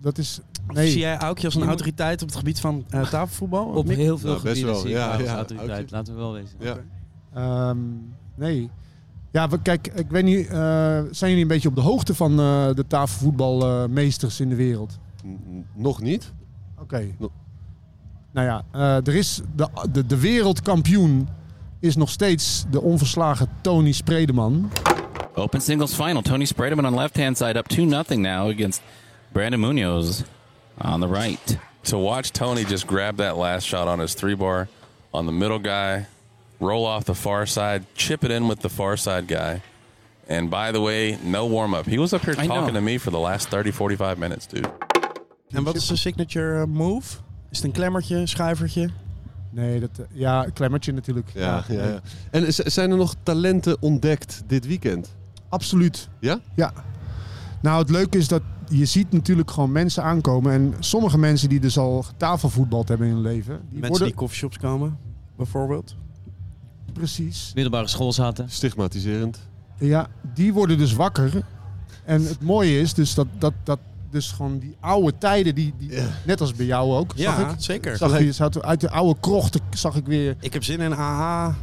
dat is. Nee. Zie jij Aukje als een Je moet- autoriteit op het gebied van eh, tafelvoetbal? Op heel veel Nou, best gebieden wel, zie ik ja, haar als ja. autoriteit, Aukje. laten we wel wezen. Ja. Ehm, nee. Ja, we- kijk, ik weet niet. eh, zijn jullie een beetje op de hoogte van eh, de tafelvoetbalmeesters in de wereld? N- n- Nog niet. Oké. No- Nou ja, eh, er is de, de, de wereldkampioen is nog steeds de onverslagen Tony Spredeman. Open singles final. Tony Sprademan on left hand side up 2 nothing now against Brandon Munoz on the right. to watch Tony just grab that last shot on his three bar on the middle guy, roll off the far side, chip it in with the far side guy. And by the way, no warm up. He was up here I know. talking to me for the last 30, 45 minutes, dude. En wat is de signature eh, move? Is het een klemmertje, schuivertje? Nee, dat, eh, ja, klemmertje natuurlijk. Ja, ja, ja. En z- zijn er nog talenten ontdekt dit weekend? Absoluut. Ja? Ja. Nou, het leuke is dat je ziet natuurlijk gewoon mensen aankomen. En sommige mensen die dus al tafelvoetbald hebben in hun leven, die Mensen worden die coffeeshops komen, bijvoorbeeld. precies. Middelbare school zaten. Stigmatiserend. Ja, die worden dus wakker. En het mooie is dus dat, dat, dat dus gewoon die oude tijden, die, die, Ja. net als bij jou ook, zag Ja, ik. zeker. Zag je, zat- uit de oude krochten zag ik weer. Ik heb zin in AH.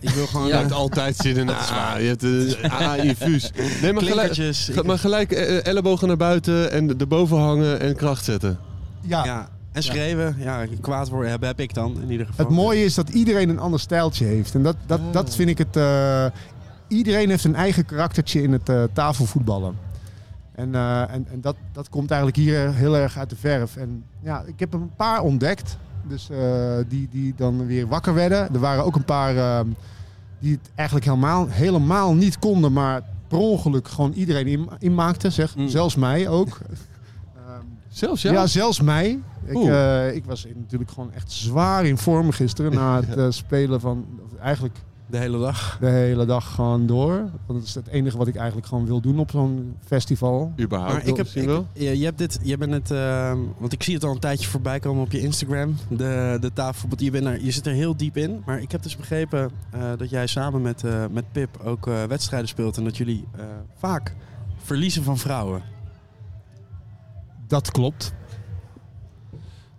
Ik wil gewoon Je ja, hebt altijd zin in een AA. Je hebt een AA-infuus. Nee, maar gelijk, klinkertjes. ga- maar gelijk eh, ellebogen naar buiten en erboven hangen en kracht zetten. Ja. Ja, en schreeuwen. Ja, kwaad worden heb, heb ik dan in ieder geval. Het mooie is dat iedereen een ander stijltje heeft. En dat, dat, Ah. dat vind ik het. eh, iedereen heeft een eigen karaktertje in het eh, tafelvoetballen. En, eh, en, en dat, dat komt eigenlijk hier heel erg uit de verf. En ja, ik heb een paar ontdekt. Dus eh, die, die dan weer wakker werden. Er waren ook een paar eh, die het eigenlijk helemaal, helemaal niet konden, maar per ongeluk gewoon iedereen in, inmaakte. Zeg. Zelfs mij ook. Mm. Ehm, Zelfs ja? jou? zelfs mij. Ik, Oeh. eh, ik was in- natuurlijk gewoon echt zwaar in vorm gisteren na het eh, spelen van of eigenlijk de hele dag. De hele dag gewoon door. Want dat is het enige wat ik eigenlijk gewoon wil doen op zo'n festival. Maar ik heb, ik, je, je hebt dit, je bent het, ehm, want ik zie het al een tijdje voorbij komen op je Instagram, de, de tafel. Je, bent er, je zit er heel diep in, maar ik heb dus begrepen eh, dat jij samen met, eh, met Pip ook eh, wedstrijden speelt en dat jullie eh, vaak verliezen van vrouwen. Dat klopt.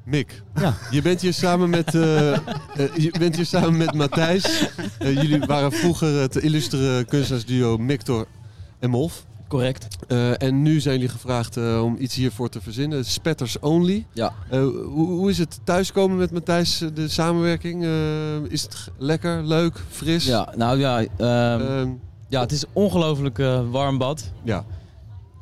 Mick, Ja. je bent hier samen met, eh, eh, je bent hier samen met Matthijs. Eh, jullie waren vroeger het illustere kunstenaarsduo Mictor en Molf. Eh, Correct. en nu zijn jullie gevraagd eh, om iets hiervoor te verzinnen. Spetters Only. Ja. Eh, hoe, hoe is het thuiskomen met Matthijs, eh, de samenwerking? Eh, is het g- lekker, leuk, fris? Ja, nou ja. ehm, ja, het is een ongelooflijk eh, warm bad. Ja.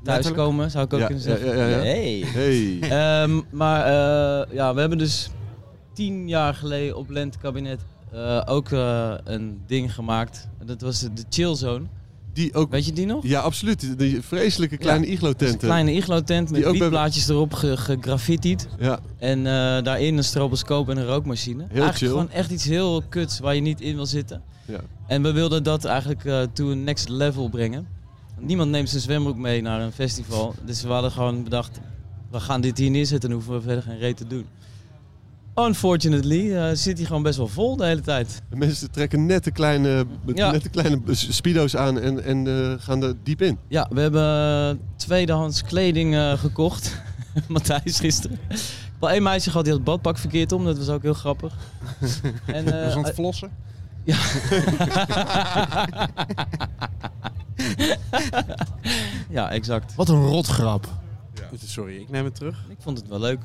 Thuiskomen zou ik ook Ja, kunnen ja, zeggen. ja, ja, ja. Hey. Hey. Ehm, maar eh, ja, we hebben dus tien jaar geleden op Lentekabinet eh ook eh, een ding gemaakt. En Dat was de de Chill Zone. Die ook, Weet je die nog? Ja, absoluut. Die- Die vreselijke kleine iglo-tenten. dus een kleine iglo-tent met Die ook bij- wietblaadjes erop ge- gegraffitied. Ja. En eh, daarin een stroboscoop en een rookmachine. eigenlijk chill. gewoon echt iets heel kuts waar je niet in wil zitten. Ja. En we wilden dat eigenlijk eh to een next level brengen. Niemand neemt zijn zwembroek mee naar een festival. Dus we hadden gewoon bedacht, we gaan dit hier neerzetten en hoeven we verder geen reet te doen. Unfortunately eh, zit hij gewoon best wel vol de hele tijd. De mensen trekken net de kleine, Ja. net de kleine speedo's aan en, en eh, gaan er diep in. Ja, we hebben tweedehands kleding eh, gekocht. Matthijs gisteren. Ik heb al één meisje gehad die had het badpak verkeerd om. Dat was ook heel grappig. En, eh, Was aan het eh, flossen? Ja. ja, exact. Wat een rotgrap. Sorry, ik neem het terug. Ik vond het wel leuk.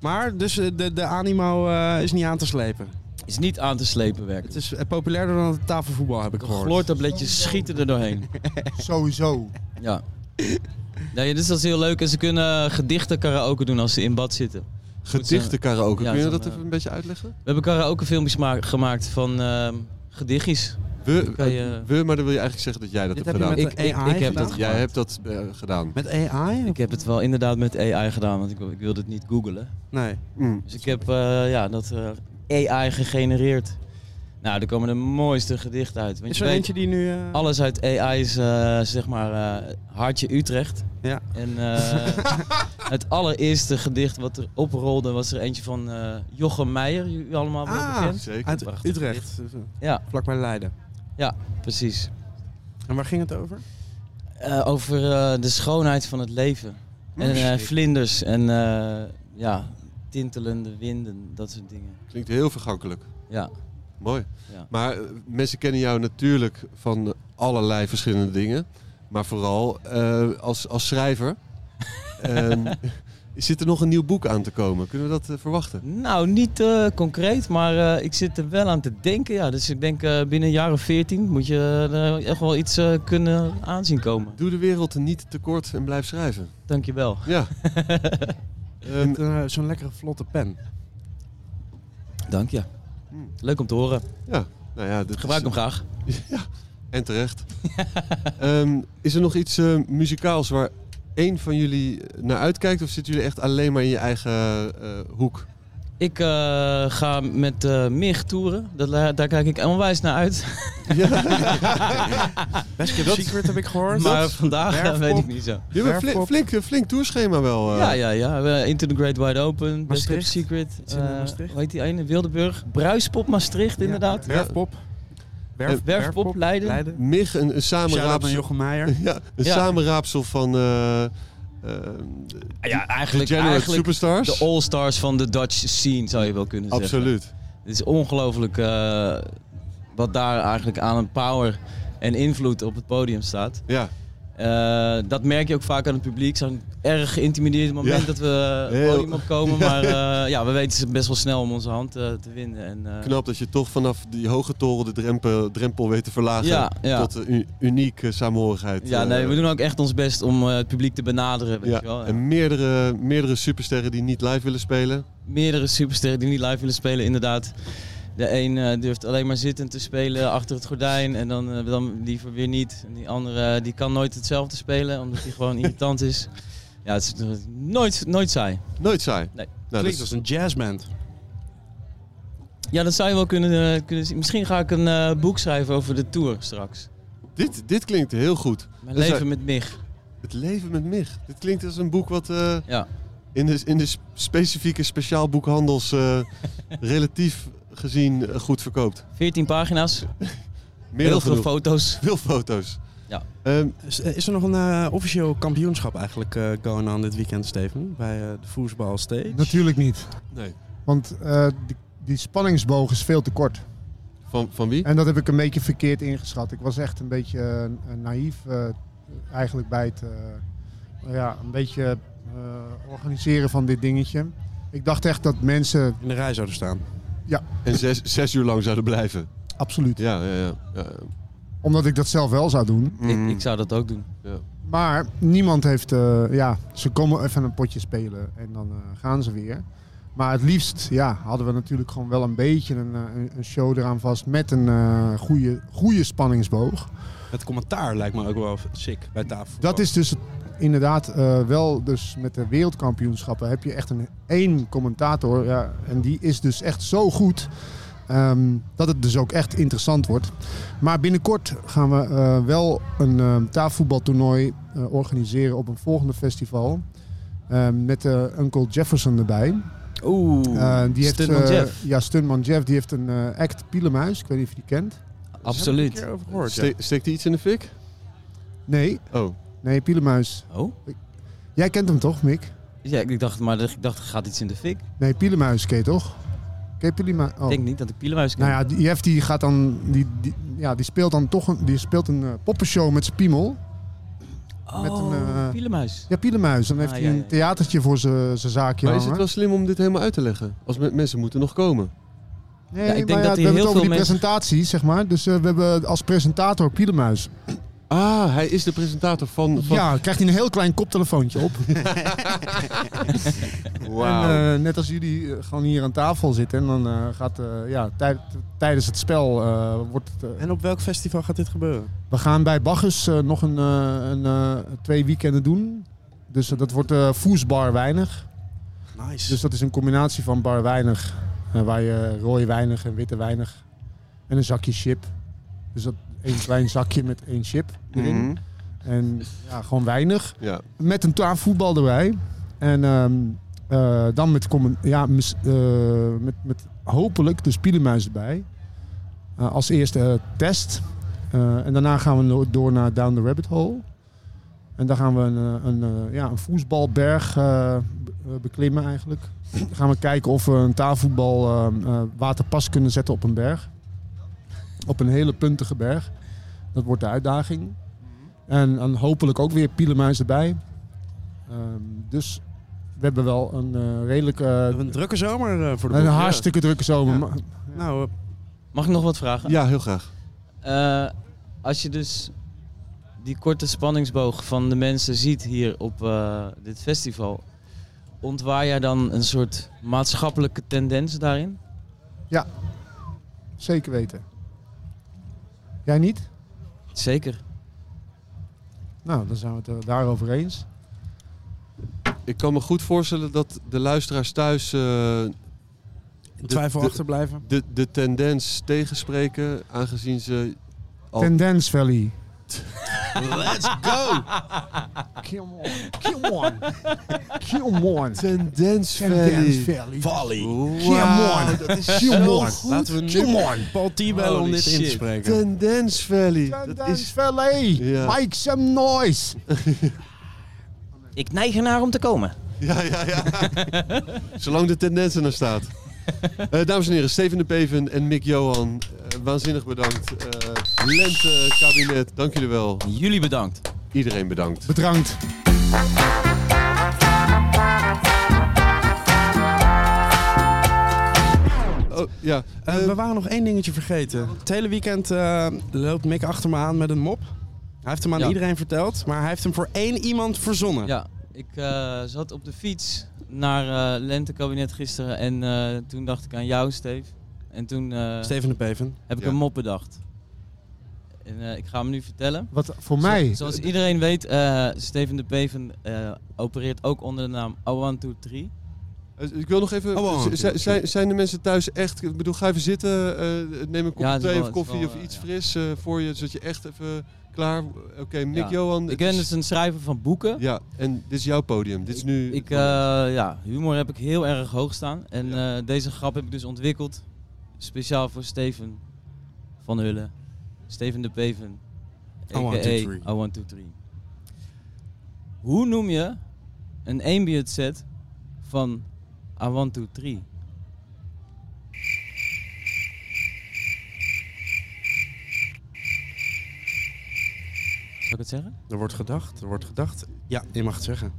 Maar dus eh, de, de animo eh, is niet aan te slepen. Is niet aan te slepen werken. Het is eh, populairder dan het tafelvoetbal, heb ik gehoord. Chloortabletjes schieten er doorheen. Sowieso. Ja. Nee, dus dat is heel leuk. En ze kunnen gedichten karaoke doen als ze in bad zitten. Gedichten karaoke. Ja, Kun je zo'n, dat eh, even een beetje uitleggen? We hebben karaoke filmpjes ma- gemaakt van ehm gedichtjes. We, eh, Dan kan je- we, maar dan wil je eigenlijk zeggen dat jij dat Dit hebt heb je gedaan. met de Ik- AI ik- ik heb dat gedaan? Jij gemaakt. hebt dat eh, gedaan. Met AI? Ik heb het wel inderdaad met AI gedaan, want ik, wil- ik wilde het niet googlen. Nee. Dus ik heb eh, ja, dat eh, AI gegenereerd. Nou, er komen de mooiste gedichten uit. Want Is je er weet, eentje die nu... eh, Alles uit AI is eh, zeg maar eh, Hartje Utrecht. Ja. En eh, het allereerste gedicht wat er oprolde was er eentje van eh, Jochem Meijer. Jullie allemaal wel Ah, bekend. zeker. Uit Prachtig Utrecht. gedicht. Dus, eh, Ja. Vlakbij Leiden. Ja, precies. En waar ging het over? Eh, over eh, de schoonheid van het leven. Oh, en eh, shit. vlinders en eh, ja, tintelende winden, dat soort dingen. Klinkt heel vergankelijk. Ja. Mooi. Ja. Maar eh, mensen kennen jou natuurlijk van allerlei verschillende dingen. Maar vooral eh, als, als schrijver. Ehm, zit er nog een nieuw boek aan te komen? Kunnen we dat eh, verwachten? Nou, niet eh, concreet, maar eh, ik zit er wel aan te denken. Ja. Dus ik denk eh, binnen een jaar of veertien moet je er echt wel iets eh, kunnen aanzien komen. Doe de wereld niet tekort en blijf schrijven. Dankjewel. Ja. Ehm, Met, eh, Zo'n lekkere vlotte pen. Dank je. Leuk om te horen. Ja, nou ja. dit Gebruik hem graag. Ja, en terecht. Ehm, is er nog iets eh, muzikaals waar één van jullie naar uitkijkt? Of zitten jullie echt alleen maar in je eigen eh, hoek? Ik eh, ga met eh MIG toeren. Dat, la- daar kijk ik onwijs naar uit. Best Kept Secret heb ik gehoord. Ah. Maar Dat- vandaag eh, Werfpop. weet ik niet zo. Je hebt een flink, flink, een flink toerschema wel. eh. Ja, ja, ja. We- Into the Great Wide Open, dus Best Kept Maastricht. Secret. Iets in, eh, eh, Maastricht. hoe heet die ene? Wildeburg. Bruispop Maastricht, inderdaad. Werfpop. Werf- Eh, Werfpop Leiden. Mig, een, een Shout-out naar samenraapsel. Jochem Meijer. ja, een Ja. samenraapsel van. eh, eh, Ja, eigenlijk, Degenerate eigenlijk Superstars. de all-stars van de Dutch scene, zou je wel kunnen zeggen. Absoluut. Het is ongelooflijk eh, wat daar eigenlijk aan een power en invloed op het podium staat. Ja. Eh, dat merk je ook vaak aan het publiek. Ze zijn erg geïntimideerd op het moment Ja. dat we het Heel. podium opkomen. Ja. Maar eh, ja, we weten ze best wel snel om onze hand eh, te winnen. En, eh, Knap dat je toch vanaf die hoge toren de drempel, drempel weet te verlagen Ja, ja. tot een u- unieke saamhorigheid. ja, eh, nee, we doen ook echt ons best om eh, het publiek te benaderen. Weet ja. je wel. En meerdere, Eh, meerdere supersterren die niet live willen spelen. meerdere supersterren die niet live willen spelen, inderdaad. De een eh, durft alleen maar zittend te spelen achter het gordijn en dan, eh, dan liever weer niet. En die andere eh, die kan nooit hetzelfde spelen, omdat hij gewoon irritant is. Ja, het is eh, nooit, nooit saai. Nooit saai? Nou, Nee. Klinkt als een jazzband. Ja, dat zou je wel kunnen, eh, kunnen zien. Misschien ga ik een eh, boek schrijven over de tour straks. Dit, dit klinkt heel goed. Mijn Dus, eh, leven met Mich. Het leven met Mich. Dit klinkt als een boek wat eh, Ja. in, de, in de sp- specifieke speciaalboekhandels eh, relatief gezien eh, goed verkoopt. 14 pagina's. Meer Heel dan veel genoeg. foto's. Veel foto's. Ja. Ehm, Is, is er nog een eh, officieel kampioenschap eigenlijk eh, going on dit weekend, Steven? Bij eh, de voetbal stage? Natuurlijk niet. Nee. Want eh, die, die spanningsboog is veel te kort. Van, van wie? En dat heb ik een beetje verkeerd ingeschat. Ik was echt een beetje eh, naïef eh, eigenlijk bij het eh, nou ja, een beetje eh, organiseren van dit dingetje. Ik dacht echt dat mensen... In de rij zouden staan. Ja, En zes, zes uur lang zouden blijven. Absoluut. Ja, ja, ja. ja. Mm. omdat ik dat zelf wel zou doen. Ik, ik zou dat ook doen. Maar niemand heeft, eh, ja, ze komen even een potje spelen en dan eh, gaan ze weer. Maar het liefst, ja, hadden we natuurlijk gewoon wel een beetje een, eh, een- een show eraan vast met een eh goede, goede spanningsboog. Het commentaar lijkt me ook wel sick bij tafel. Dat is dus het- inderdaad eh, wel, dus met de wereldkampioenschappen heb je echt een één commentator. Ja, en die is dus echt zo goed ehm, dat het dus ook echt interessant wordt. Maar binnenkort gaan we eh, wel een ehm, tafelvoetbaltoernooi eh, organiseren op een volgende festival. Ehm, met eh, Uncle Jefferson erbij. Oeh, Eh, die heeft, Stuntman eh, Jeff. Ja, Stuntman Jeff. Die heeft een eh, act Pielemuis. Ik weet niet of je die kent. Absoluut. Daar heb ik een keer over gehoord, ja. Ste- steekt hij iets in de fik? Nee. Oh. Nee, Pielemuis. Oh. Jij kent hem toch, Mick? Ja, ik dacht, maar ik dacht, er gaat iets in de fik. Nee, Pielemuis ken je toch? Ken je Pielemuis? Ik denk niet dat ik Pielemuis ken. Oh. Nou ja, die Jeff die gaat dan... Die, die, ja, die speelt dan toch een, die speelt een eh, poppenshow met zijn piemel. met Oh, een, eh, Pielemuis. Ja, Pielemuis. Dan heeft Ah, hij ja, een ja, ja. theatertje voor zijn zijn zaakje Maar is het hangen. wel slim om dit helemaal uit te leggen? Als me- mensen moeten nog komen. Nee, Ja, ik maar denk ja, dat we hij hebben heel het over veel die mensen- presentatie, zeg maar. Dus eh, we hebben als presentator Pielemuis. Ah, hij is de presentator van... van... Ja, krijgt hij een heel klein koptelefoontje op. En, Wauw. eh, net als jullie eh, gewoon hier aan tafel zitten. En dan eh, gaat eh, ja, tijd- tijdens het spel eh, wordt het. eh, En op welk festival gaat dit gebeuren? we gaan bij Bacchus eh, nog een, eh, een, eh, twee weekenden doen. Dus eh, dat wordt eh voesbar weinig. Nice. Dus dat is een combinatie van bar weinig. eh, waar je rode weinig en witte weinig. En een zakje chip. Dus dat één klein zakje met één chip erin. Mhm. En ja, gewoon weinig. Ja. Met een taal voetbal erbij. En ehm, eh, dan met, commen- ja, mis- eh, met, met hopelijk de Spielemuis erbij. Eh, als eerste eh, test. Eh, en daarna gaan we no- door naar Down the Rabbit Hole. En daar gaan we een, eh, een, eh, ja, een voetbalberg eh, be- eh, beklimmen eigenlijk. Dan gaan we kijken of we een tafelvoetbal ehm, eh, waterpas kunnen zetten op een berg. Op een hele puntige berg. Dat wordt de uitdaging. En, dan hopelijk ook weer pielenmuis erbij. Ehm, dus we hebben wel een eh, redelijke... Een drukke zomer eh, voor de een boeg, ja. hartstikke drukke zomer. Ja. maar- Nou, eh, Mag ik nog wat vragen? ja, heel graag. Eh, als je dus die korte spanningsboog van de mensen ziet hier op eh, dit festival, ontwaar jij dan een soort maatschappelijke tendens daarin? Ja, zeker weten. Jij niet? Zeker. Nou, dan zijn we het eh, daarover eens. Ik kan me goed voorstellen dat de luisteraars thuis... eh, de- twijfel de- achterblijven. De, de tendens tegenspreken, aangezien ze... Al... Tendence Valley. Let's go! Kill one. Kill one. Kill one. Tendens Tendence Valley. Valley. Valley. Wauw, Kill dat is Kill zo one. goed. Laten we Kill nu one. Paul T bellen om Holy dit in te shit. spreken. Tendens Valley. Dat Tendence is... Valley. Ja. Make some noise. Ik neig ernaar om te komen. Ja, ja, ja. Zolang de tendens er staat. Eh, dames en heren, Steven de Peven en Mick Johan, eh, waanzinnig bedankt. Eh, Lente kabinet, dank jullie wel. Jullie bedankt. Iedereen bedankt. Bedankt. ja. Oh, Eh, Eh, we waren nog één dingetje vergeten. Het hele weekend eh, loopt Mick achter me aan met een mop. Hij heeft hem aan Ja. iedereen verteld, maar hij heeft hem voor één iemand verzonnen. Ja, ik eh, zat op de fiets naar eh Lentekabinet gisteren en eh, toen dacht ik aan jou, Steve. En toen... eh, Steven de Peven. Heb ik Ja. een mop bedacht. En eh, ik ga hem nu vertellen. Wat voor Zo- mij- Zoals iedereen weet, eh, Steven de Peven eh, opereert ook onder de naam 0123. Eh, Ik wil nog even. Oh, wow. z- z- zijn, zijn de mensen thuis echt. Ik bedoel, ga even zitten. eh, neem een kop Ja, het is thee of wel- het is koffie wel, of eh, iets fris eh, voor je. Zodat je echt even klaar. Oké, Mick Ja. Johan. Ik het ben is- dus een schrijver van boeken. Ja, en dit is jouw podium. Dit is nu. Ik, eh, ja, humor heb ik heel erg hoog staan. En eh, deze grap heb ik dus ontwikkeld. Speciaal voor Steven van Hullen. Steven de Peven. I want to aka three. I want to three. Hoe noem je een ambient set van I want to three? Zal ik het zeggen? Er wordt gedacht, er wordt gedacht. Ja, je mag het zeggen.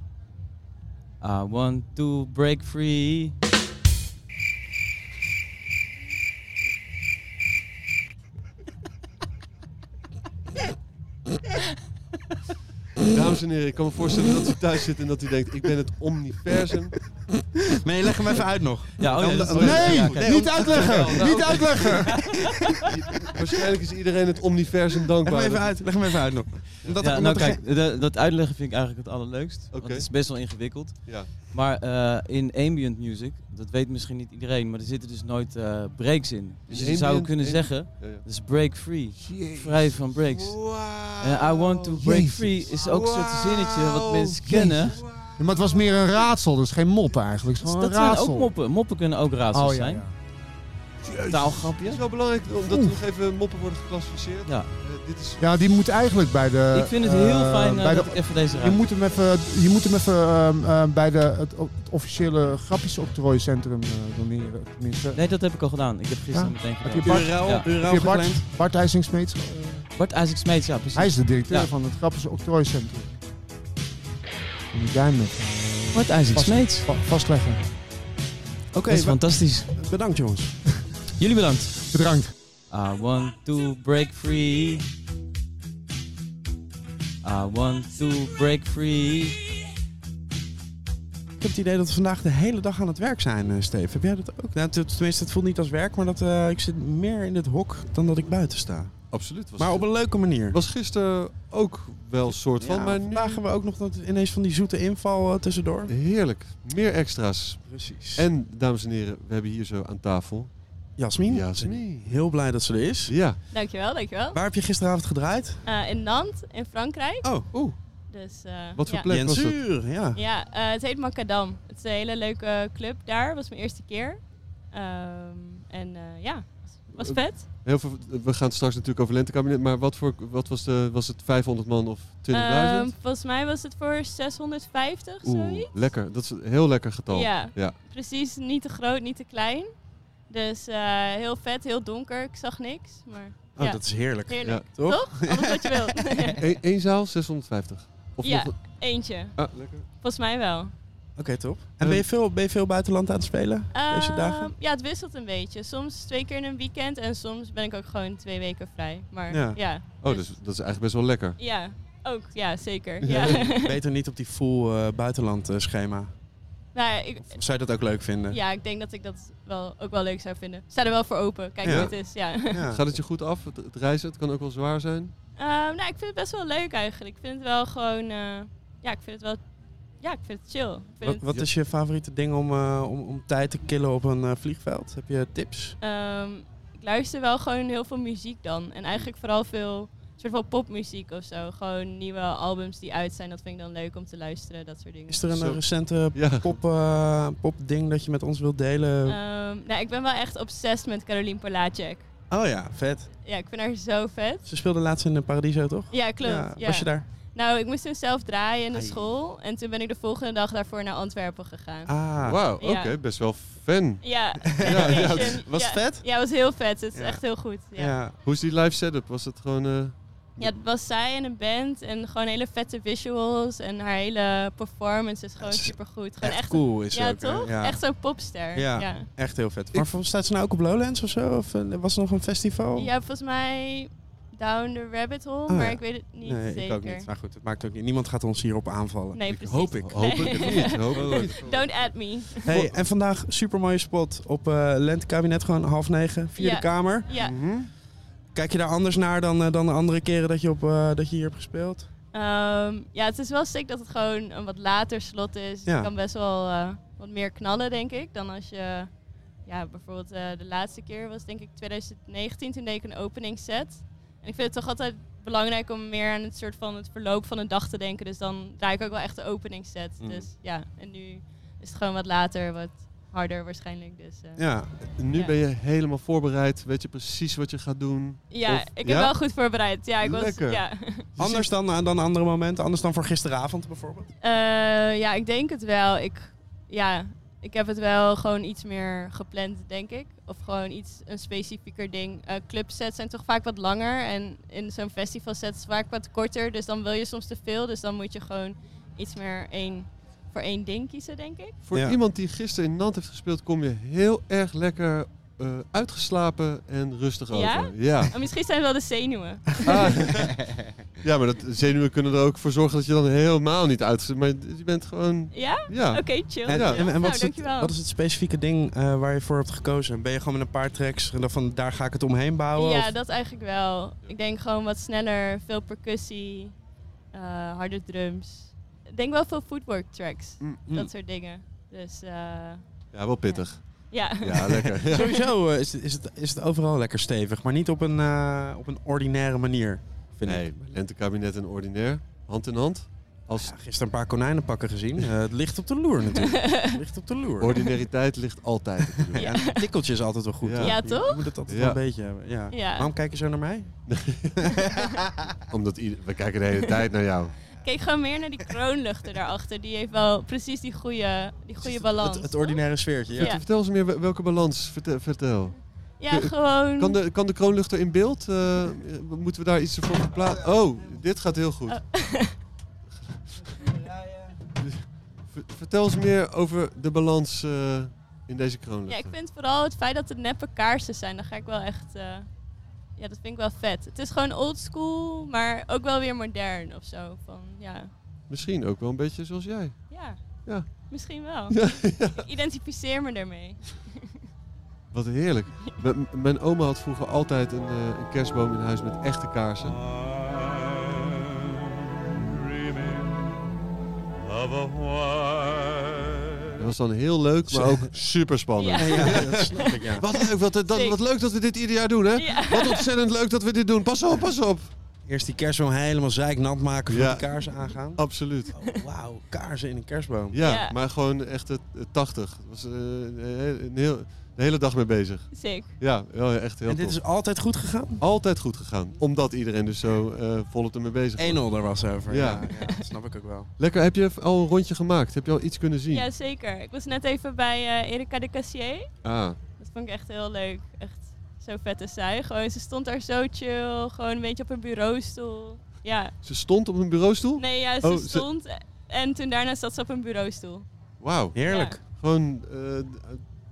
I want to break free. Dames en heren, ik kan me voorstellen dat u thuis zit en dat u denkt: ik ben het omniversum. Nee, leg hem even uit nog. Ja, oh ja, dat is wel- Nee, ja, kijk. niet Ja, uitleggen! nou, Niet oké. uitleggen! Waarschijnlijk is iedereen het omniversum dankbaar. Leg hem even uit, leg hem even uit nog. Omdat ja, er- nou omdat er kijk, de- dat uitleggen vind ik eigenlijk het allerleukst. Want Oké. het is best wel ingewikkeld. Ja. Maar eh, in ambient music, dat weet misschien niet iedereen, maar er zitten dus nooit eh, breaks in. Dus je zou ambient- kunnen in- zeggen, Ja, ja. dat is break free. Vrij van breaks. En I want to break free is ook een soort zinnetje wat mensen kennen. Dus Ja, maar het was meer een raadsel, dus geen mop eigenlijk. Het is gewoon dat een zijn raadsel. ook moppen. Moppen kunnen ook raadsels Oh, ja, zijn. Taalgrapje. Het is wel belangrijk omdat er nog even moppen worden geclassificeerd. Ja. Eh, dit is Ja, die moet eigenlijk bij de. Ik vind het heel eh, fijn, eh, dat ik even deze je ruik. moet hem even, je moet hem even ehm, eh, bij de, het, o- het officiële grapjesoctrooicentrum eh doneren. Tenminste. Nee, dat heb ik al gedaan. Ik heb gisteren meteen Heb gedaan. je Bart, Ja. heb je Bart, Bart IJsing-Smeets? Bart IJsing-Smeets, ja, precies. Hij is de directeur Ja. van het grapjesoctrooicentrum. Moet jij met Bart IJsing-Smeets. vastleggen. Oké, Dat is fantastisch. Bedankt jongens. Jullie bedankt. Bedankt. I want to break free. I want to break free. Ik heb het idee dat we vandaag de hele dag aan het werk zijn, eh, Steve. Heb jij dat ook? Nou, t- tenminste, het voelt niet als werk, maar dat, eh, ik zit meer in het hok dan dat ik buiten sta. Absoluut. Was Maar op een leuke manier. Was gisteren ook wel een soort van, Ja, maar vandaag hebben we ook nog dat, ineens van die zoete inval eh, tussendoor. Heerlijk. Meer extra's. Precies. En, dames en heren, we hebben hier zo aan tafel... Jasmin. Jasmin. Heel blij dat ze er is. Ja. Dankjewel, dankjewel. Waar heb je gisteravond gedraaid? Eh, in Nantes, in Frankrijk. Oh, oeh. Dus, eh, Wat voor ja. plek was dat? Jensuur, ja. Ja, eh, het heet Macadam. Het is een hele leuke club daar. was mijn eerste keer. Ehm, en eh, ja, was vet. Heel veel, we gaan het straks natuurlijk over lentekabinet, maar wat, voor, wat was, de, was het 500 man of 20.000? Ehm, volgens mij was het voor 650, Oeh, Ehm, zoiets. lekker. Dat is een heel lekker getal. Ja, ja. precies. Niet te groot, niet te klein. Dus eh, heel vet, heel donker. Ik zag niks. Maar, Oh, ja. dat is heerlijk. Heerlijk, Ja. toch? Toch? Alles wat je wilt. Eén één zaal, 650. Of ja, nog een- eentje. Ah, lekker. Volgens mij wel. Oké, top. En ben je, veel, ben je veel buitenland aan het spelen deze Ehm, dagen? Ja, het wisselt een beetje. Soms twee keer in een weekend en soms ben ik ook gewoon twee weken vrij. Maar ja, ja, Oh, dus, dat is eigenlijk best wel lekker. ook. Ja, zeker. Ja. Ja. Beter niet op die full eh, buitenland eh, schema. nou, ja, ik, Of zou je dat ook leuk vinden? ja, ik denk dat ik dat wel, ook wel leuk zou vinden. Ik Sta er wel voor open. Kijk Ja. hoe het is. Ja. Gaat het je goed af? Het, het reizen, het kan ook wel zwaar zijn. Ehm, nou, ik vind het best wel leuk eigenlijk. Ik vind het wel gewoon... eh, ja, ik vind het wel... Ja, ik vind het chill. Ik vind Wat, het- wat is je favoriete ding om, eh, om, om tijd te killen op een eh, vliegveld? Heb je tips? Ehm, ik luister wel gewoon heel veel muziek dan. En eigenlijk vooral veel soort van popmuziek of zo. Gewoon nieuwe albums die uit zijn. Dat vind ik dan leuk om te luisteren, dat soort dingen. Is er een eh, recente pop, eh, popding dat je met ons wilt delen? Ehm, nou, ik ben wel echt obsessed met Caroline Polacek. oh ja, vet. Ja, ik vind haar zo vet. Ze speelde laatst in de Paradiso, toch? Ja, klopt. Ja, Was je daar? Nou, ik moest toen zelf draaien in de Ai. school. En toen ben ik de volgende dag daarvoor naar Antwerpen gegaan. Ah. Wauw, oké, Ja. best wel fan. Ja. Ja, ja, Asian. het- was Ja. het vet? Ja, het was heel vet. Het is Ja. echt heel goed. Ja. Hoe is die live setup? Was het gewoon eh, Ja, het was zij en een band en gewoon hele vette visuals en haar hele performance is gewoon supergoed. Gewoon echt cool is ze Ja, ook, hè? toch? Ja. Echt zo'n popster. Ja, ja. echt heel vet. Maar vol- staat ze nou ook op Lowlands of zo? Of eh, was er nog een festival? Ja, volgens mij Down the Rabbit Hole, Ah, maar Oh. ja. ik weet het niet nee, zeker. ik ook niet. Maar goed, het maakt ook niet. Niemand gaat ons hierop aanvallen. Nee, precies. Hoop ik. Nee. Don't add me. Hey, eh, en vandaag super mooie spot op eh Lentekabinet, gewoon half negen, vierde Ja. kamer. Mhm. Ja. Kijk je daar anders naar dan, eh, dan de andere keren dat je, op, eh, dat je hier hebt gespeeld? Ehm, ja, het is wel sick dat het gewoon een wat later slot is. Ja. Je kan best wel eh, wat meer knallen, denk ik, dan als je... Ja, bijvoorbeeld eh, de laatste keer was denk ik 2019, toen deed ik een opening set. En ik vind het toch altijd belangrijk om meer aan het soort van het verloop van een dag te denken. Dus dan draai ik ook wel echt de opening set. Mhm. Dus ja, en nu is het gewoon wat later, wat harder waarschijnlijk. Dus, eh, Ja, nu ben je helemaal voorbereid. Weet je precies wat je gaat doen. Ja, Of- ik heb wel goed voorbereid. Ja, ik Lekker. was... Ja. Anders dan, eh, dan andere momenten? Anders dan voor gisteravond bijvoorbeeld? Eh, ja, ik denk het wel. Ik, ja, ik heb het wel gewoon iets meer gepland, denk ik. Of gewoon iets, een specifieker ding. Eh, clubsets zijn toch vaak wat langer. En in zo'n festivalset is vaak wat korter. Dus dan wil je soms te veel. Dus dan moet je gewoon iets meer één, voor één ding kiezen, denk ik. Voor Ja. iemand die gisteren in Nant heeft gespeeld, kom je heel erg lekker eh, uitgeslapen en rustig Ja? over. Ja. Maar misschien zijn het wel de zenuwen. Ah. ja, maar dat, zenuwen kunnen er ook voor zorgen dat je dan helemaal niet uit. Maar je bent gewoon. Ja? Ja. Oké, chill. En, Ja. en- en wat, Nou, is het, dankjewel. wat is het specifieke ding eh, waar je voor hebt gekozen? Ben je gewoon met een paar tracks en dan van daar ga ik het omheen bouwen? Ja, of- dat eigenlijk wel. Ik denk gewoon wat sneller, veel percussie, eh, harde drums. Ik denk wel veel footwork tracks, mm. dat soort dingen. Dus eh, Ja, wel pittig. Ja. Ja, lekker. Ja. Sowieso eh, is, het- is, het, is het overal lekker stevig, maar niet op een, eh, op een ordinaire manier. Vind nee, ik. lentekabinet en ordinair, hand in hand. Als gisteren een paar konijnenpakken gezien. Eh, het ligt op de loer natuurlijk. Het ligt op de loer. Ordinariteit ligt altijd. op de loer. Ja, een tikkeltje is altijd wel goed. Ja. hoor. Ja, Je- Je toch? moet het altijd Ja. wel een beetje hebben. Ja. Ja. Waarom kijk je zo naar mij? Omdat ieder- we kijken de hele tijd naar jou. keek gewoon meer naar die kroonluchter daarachter. Die heeft wel precies die goede, die goede balans. Het ordinaire sfeertje. Ja. Ja. Vertel eens meer wel- welke balans. Vertel. vertel. Ja, Kun- gewoon- Kan de, kan de kroonluchter in beeld? Eh, eh, moeten we daar iets voor plaatsen? Oh, dit gaat heel goed. Ver- vertel eens meer over de balans eh, in deze Ja, ik kroonluchter. vind vooral het feit dat het neppe kaarsen zijn, dan ga ik wel echt. eh, ja, dat vind ik wel vet. Het is gewoon oldschool, maar ook wel weer modern of zo. Van, ja. Misschien ook wel een beetje zoals jij. Ja. Ja. Misschien wel. Ja, Ik identificeer me daarmee. Wat heerlijk. M- m- mijn oma had vroeger altijd een, eh, een kerstboom in huis met echte kaarsen. Dat was dan heel leuk, maar ook super spannend. Ja. Ja, dat snap ik, ja. Wat leuk, wat, dat, wat leuk dat we dit ieder jaar doen, hè? Wat ontzettend leuk dat we dit doen. Pas op, pas op. Eerst die kerstboom helemaal zeiknat maken voor Ja. de kaarsen aangaan. Oh, Absoluut. Wauw, kaarsen in een kerstboom. Ja, maar gewoon echt het, het 80. Dat was eh, een heel, de hele dag mee bezig. Sick. Ja, wel echt heel En dit tof. is altijd goed gegaan? Altijd goed gegaan. Omdat iedereen dus zo eh volop ermee bezig was. 1-0 daar was over. Ja. Ja. ja, dat snap ik ook wel. Lekker, heb je al een rondje gemaakt? Heb je al iets kunnen zien? Ja, zeker. Ik was net even bij eh, Erika de Cassier. Ah. Dat vond ik echt heel leuk. Echt zo vet is zij. Gewoon, ze stond daar zo chill. Gewoon een beetje op een bureaustoel. Ja. Ze stond op een bureaustoel? Nee, ja, ze Oh, stond. En toen daarna zat ze op een bureaustoel. Wauw. Heerlijk. Gewoon eh, d-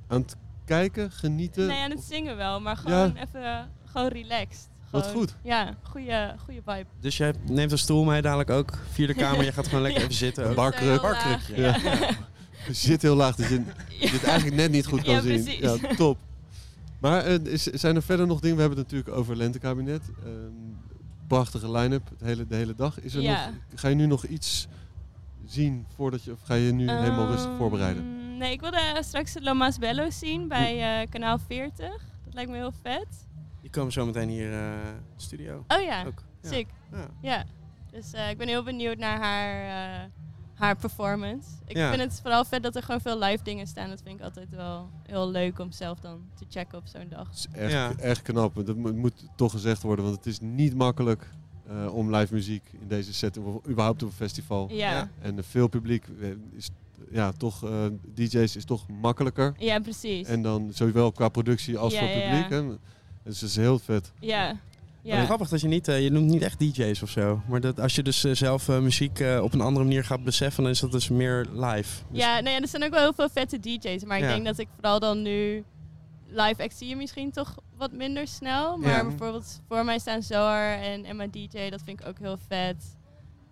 aan het kijken, genieten. Nee, aan het zingen wel, maar gewoon even eh, gewoon relaxed. Wat Gewoon- goed. Ja, goede, goede vibe. Dus jij neemt een stoel mee dadelijk ook. Vierde kamer, je gaat gewoon lekker Ja. eh, even zitten. Een ook. barkruk. Barkrukje. Ja. Je zit heel laag, dat je dit eigenlijk net niet goed kan Ja, zien. precies. Ja, top. Maar eh, is, zijn er verder nog dingen? We hebben het natuurlijk over lentekabinet. Ehm, prachtige line-up de hele, de hele dag. Is er Ja. nog, ga je nu nog iets zien voordat je... Of ga je nu helemaal rustig Ehm, voorbereiden? Nee, ik wilde eh, straks de Lomas Bello zien bij eh, kanaal 40. Dat lijkt me heel vet. Die komen zo meteen hier eh de studio. Oh ja, Ook. sick. Ja. Dus eh, ik ben heel benieuwd naar haar, eh, haar performance. Ik Ja. vind het vooral vet dat er gewoon veel live dingen staan. Dat vind ik altijd wel heel leuk om zelf dan te checken op zo'n dag. Echt, echt knap. Dat mo- moet toch gezegd worden, want het is niet makkelijk eh, om live muziek in deze setting, of überhaupt op een festival. Ja. Ja. En eh, veel publiek eh, is ja, toch, eh, DJ's is toch makkelijker. Ja, precies. En dan zowel qua productie als Ja, voor ja, publiek. ja. Hè. Dus dat is heel vet. Ja. Ja. grappig dat je niet, eh, je noemt niet echt DJ's of zo. Maar dat, als je dus eh, zelf eh, muziek eh, op een andere manier gaat beseffen, dan is dat dus meer live. Dus- Ja, nou ja, er zijn ook wel heel veel vette DJ's. Maar Ja. ik denk dat ik vooral dan nu live act zie je misschien toch wat minder snel. Maar Ja. bijvoorbeeld voor mij staan Zoar en Emma DJ. Dat vind ik ook heel vet.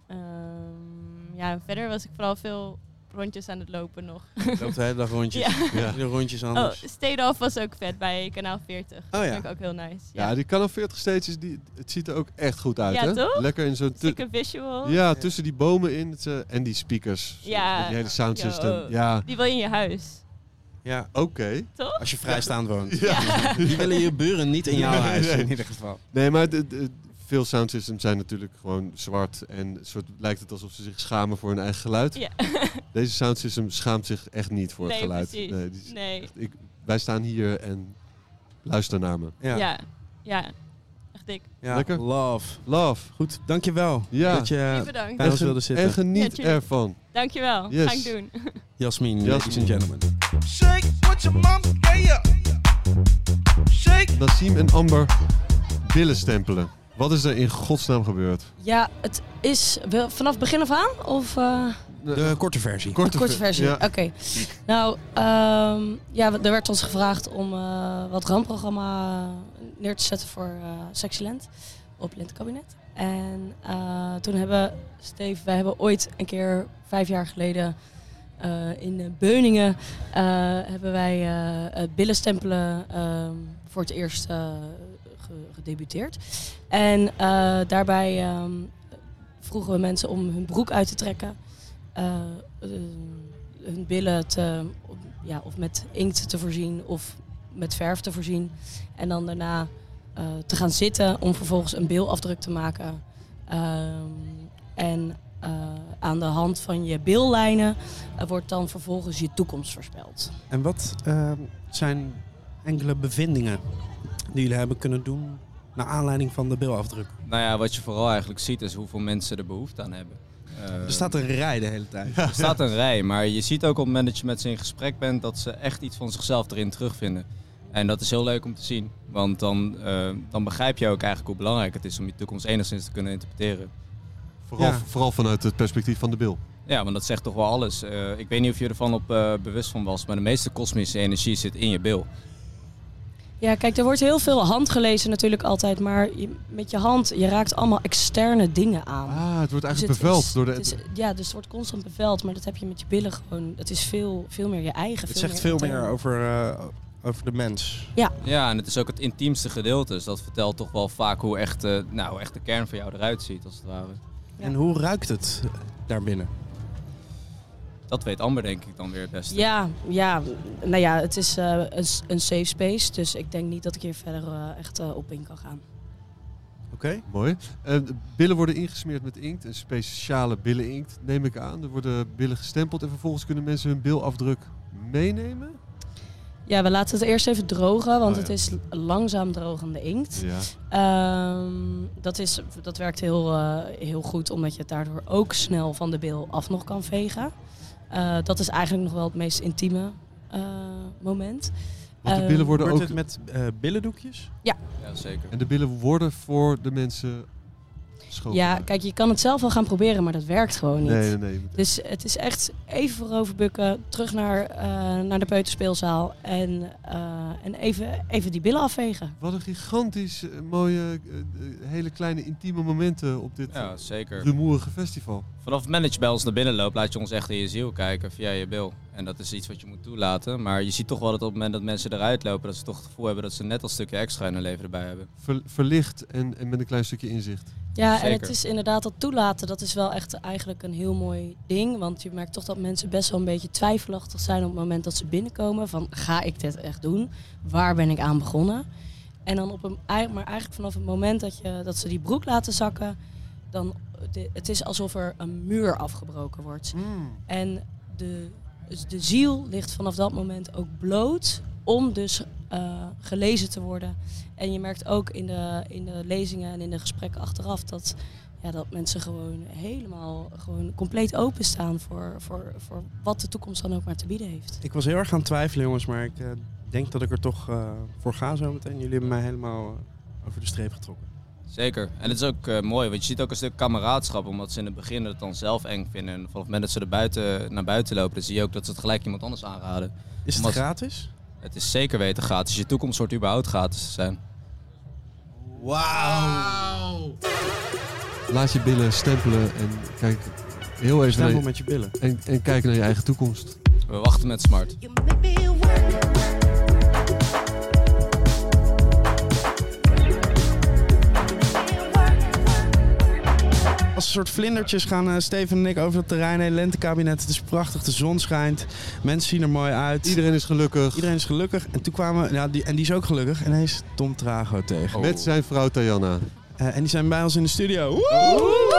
Ehm, ja, verder was ik vooral veel rondjes aan het lopen nog. Loopt de hele dag rondjes. Ja. Iedere rondjes Oh, anders. Stedolf was ook vet bij kanaal 40. Oh Dat ja. vind ik ook heel nice. Ja, die Canon 40 stages, die, het ziet er ook echt goed uit, Ja, hè? toch? Lekker in zo'n... tu- Sikke visual. Ja, tussen die bomen in het, eh, en die speakers. Ja. Met Die hele soundsystem. Yo. Ja, Die wil je in je huis. Ja, oké. Toch? Als je vrijstaand woont. Ja. Ja. Die willen je buren niet in jouw Nee, huis, nee. in ieder geval. Nee, maar de- de- veel soundsystems zijn natuurlijk gewoon zwart. En een soort, lijkt het alsof ze zich schamen voor hun eigen geluid. Ja. Deze soundsystem schaamt zich echt niet voor Nee, het geluid. precies. die is Nee. echt- ik, wij staan hier en luister naar me. Ja. ja. Echt dik. Ja, Lekker. Love. Love. Goed, dankjewel Ja. dat je eh, Jullie bedankt. bij En ons ge- wilde zitten. en Ja, geniet tuurlijk. ervan. Dankjewel. Yes. Ga ik doen. Jasmin, Jasmin. ladies and gentlemen. Shake what your mama gave ya. Shake. Nassim en Amber billen stempelen. Wat is er in godsnaam gebeurd? Ja, het is wel vanaf begin af aan? Of, eh, De, korte versie. de korte versie. Oké. Nou, ehm, ja, we- er werd ons gevraagd om eh, wat rampprogramma neer te zetten voor eh Sexyland op Lentekabinet. En eh, toen hebben Steve, wij hebben ooit een keer vijf jaar geleden eh, in Beuningen eh, hebben wij eh, het billenstempelen ehm, voor het eerst eh, ge- gedebuteerd. En eh, daarbij ehm, vroegen we mensen om hun broek uit te trekken. eh, hun billen te, op- ja, of met inkt te voorzien of met verf te voorzien. En dan daarna eh, te gaan zitten om vervolgens een bilafdruk te maken. Ehm, en eh, aan de hand van je billijnen eh, wordt dan vervolgens je toekomst voorspeld. En wat ehm, zijn enkele bevindingen die jullie hebben kunnen doen naar aanleiding van de bilafdruk? Nou ja, wat je vooral eigenlijk ziet is hoeveel mensen er behoefte aan hebben. Eh, Er staat een rij de hele tijd. Er staat een rij, maar je ziet ook op het moment dat je met ze in gesprek bent dat ze echt iets van zichzelf erin terugvinden. En dat is heel leuk om te zien, want dan, eh, dan begrijp je ook eigenlijk hoe belangrijk het is om je toekomst enigszins te kunnen interpreteren. Vooral, Ja. vooral vanuit het perspectief van de bil. Ja, want dat zegt toch wel alles. Eh, ik weet niet of je ervan op eh, bewust van was, maar de meeste kosmische energie zit in je bil. Ja, kijk, er wordt heel veel handgelezen natuurlijk altijd, maar je- met je hand, je raakt allemaal externe dingen aan. Ah, het wordt eigenlijk Dus het beveld is- door de- het is- ja, dus het wordt constant beveld, maar dat heb je met je billen gewoon. Het is veel, veel meer je eigen. Het zegt veel meer intern. over, eh, over de mens. Ja. Ja, en het is ook het intiemste gedeelte, dus dat vertelt toch wel vaak hoe echt, eh, nou, hoe echt de kern van jou eruit ziet, als het ware. En hoe ruikt het daarbinnen? Dat weet Amber denk ik dan weer het beste. Ja, ja, nou ja, het is eh, een, s- een safe space, dus ik denk niet dat ik hier verder eh, echt eh, op in kan gaan. Oké. Mooi. Eh, de billen worden ingesmeerd met inkt, een speciale billen-inkt, neem ik aan. Er worden billen gestempeld en vervolgens kunnen mensen hun bilafdruk meenemen. Ja, we laten het eerst even drogen, want Oh, het ja. is langzaam drogende inkt. Ja. Ehm, dat, is, dat werkt heel, eh, heel goed, omdat je het daardoor ook snel van de bil af nog kan vegen. Eh, dat is eigenlijk nog wel het meest intieme eh, moment. Ehm, Want de billen worden Wordt ook- het met eh, billendoekjes? Ja. Ja, zeker. En de billen worden voor de mensen schoon. Ja, kijk, je kan het zelf wel gaan proberen, maar dat werkt gewoon niet. Nee, nee, nee, je moet- Dus het is echt even vooroverbukken, terug naar, eh, naar de peuterspeelzaal en, eh, en even, even die billen afvegen. Wat een gigantisch eh, mooie, eh, eh, hele kleine intieme momenten op dit Ja, zeker. rumoerige festival. Vanaf het moment dat je bij ons naar binnen loopt, laat je ons echt in je ziel kijken via je bil. En dat is iets wat je moet toelaten. Maar je ziet toch wel dat op het moment dat mensen eruit lopen, dat ze toch het gevoel hebben dat ze net dat stukje extra in hun leven erbij hebben. Ver- verlicht en, en met een klein stukje inzicht. Ja, en het Zeker. is inderdaad dat toelaten, dat is wel echt eigenlijk een heel mooi ding. Want je merkt toch dat mensen best wel een beetje twijfelachtig zijn op het moment dat ze binnenkomen. Van, ga ik dit echt doen? Waar ben ik aan begonnen? En dan op een, ei- maar eigenlijk vanaf het moment dat, je, dat ze die broek laten zakken, dan, de- het is alsof er een muur afgebroken wordt. En de, dus de ziel ligt vanaf dat moment ook bloot om dus eh, gelezen te worden. En je merkt ook in de, in de lezingen en in de gesprekken achteraf dat, ja, dat mensen gewoon helemaal gewoon compleet openstaan voor, voor, voor wat de toekomst dan ook maar te bieden heeft. Ik was heel erg aan het twijfelen, jongens, maar ik eh, denk dat ik er toch eh, voor ga zometeen. Jullie hebben mij helemaal eh, over de streep getrokken. Zeker. En het is ook eh, mooi, want je ziet ook een stuk kameraadschap, omdat ze in het begin het dan zelf eng vinden. En vanaf het moment dat ze er buiten, naar buiten lopen, dan zie je ook dat ze het gelijk iemand anders aanraden. Is het Omdat- gratis? Het is zeker weten gratis. Je toekomst wordt überhaupt gratis te zijn. Wauw! Laat je billen stempelen en kijk heel even Stempel naar met je billen. En, en kijk naar je eigen toekomst. We wachten met Smart. Als een soort vlindertjes gaan eh, Steven en ik over het terrein heen. Lentekabinet, het is prachtig, de zon schijnt. Mensen zien er mooi uit. Iedereen is gelukkig. Iedereen is gelukkig. En toen kwamen we, ja, die, en die is ook gelukkig. En hij is Tom Trago tegen. Met zijn vrouw Tajanna. Eh, en die zijn bij ons in de studio. Woe!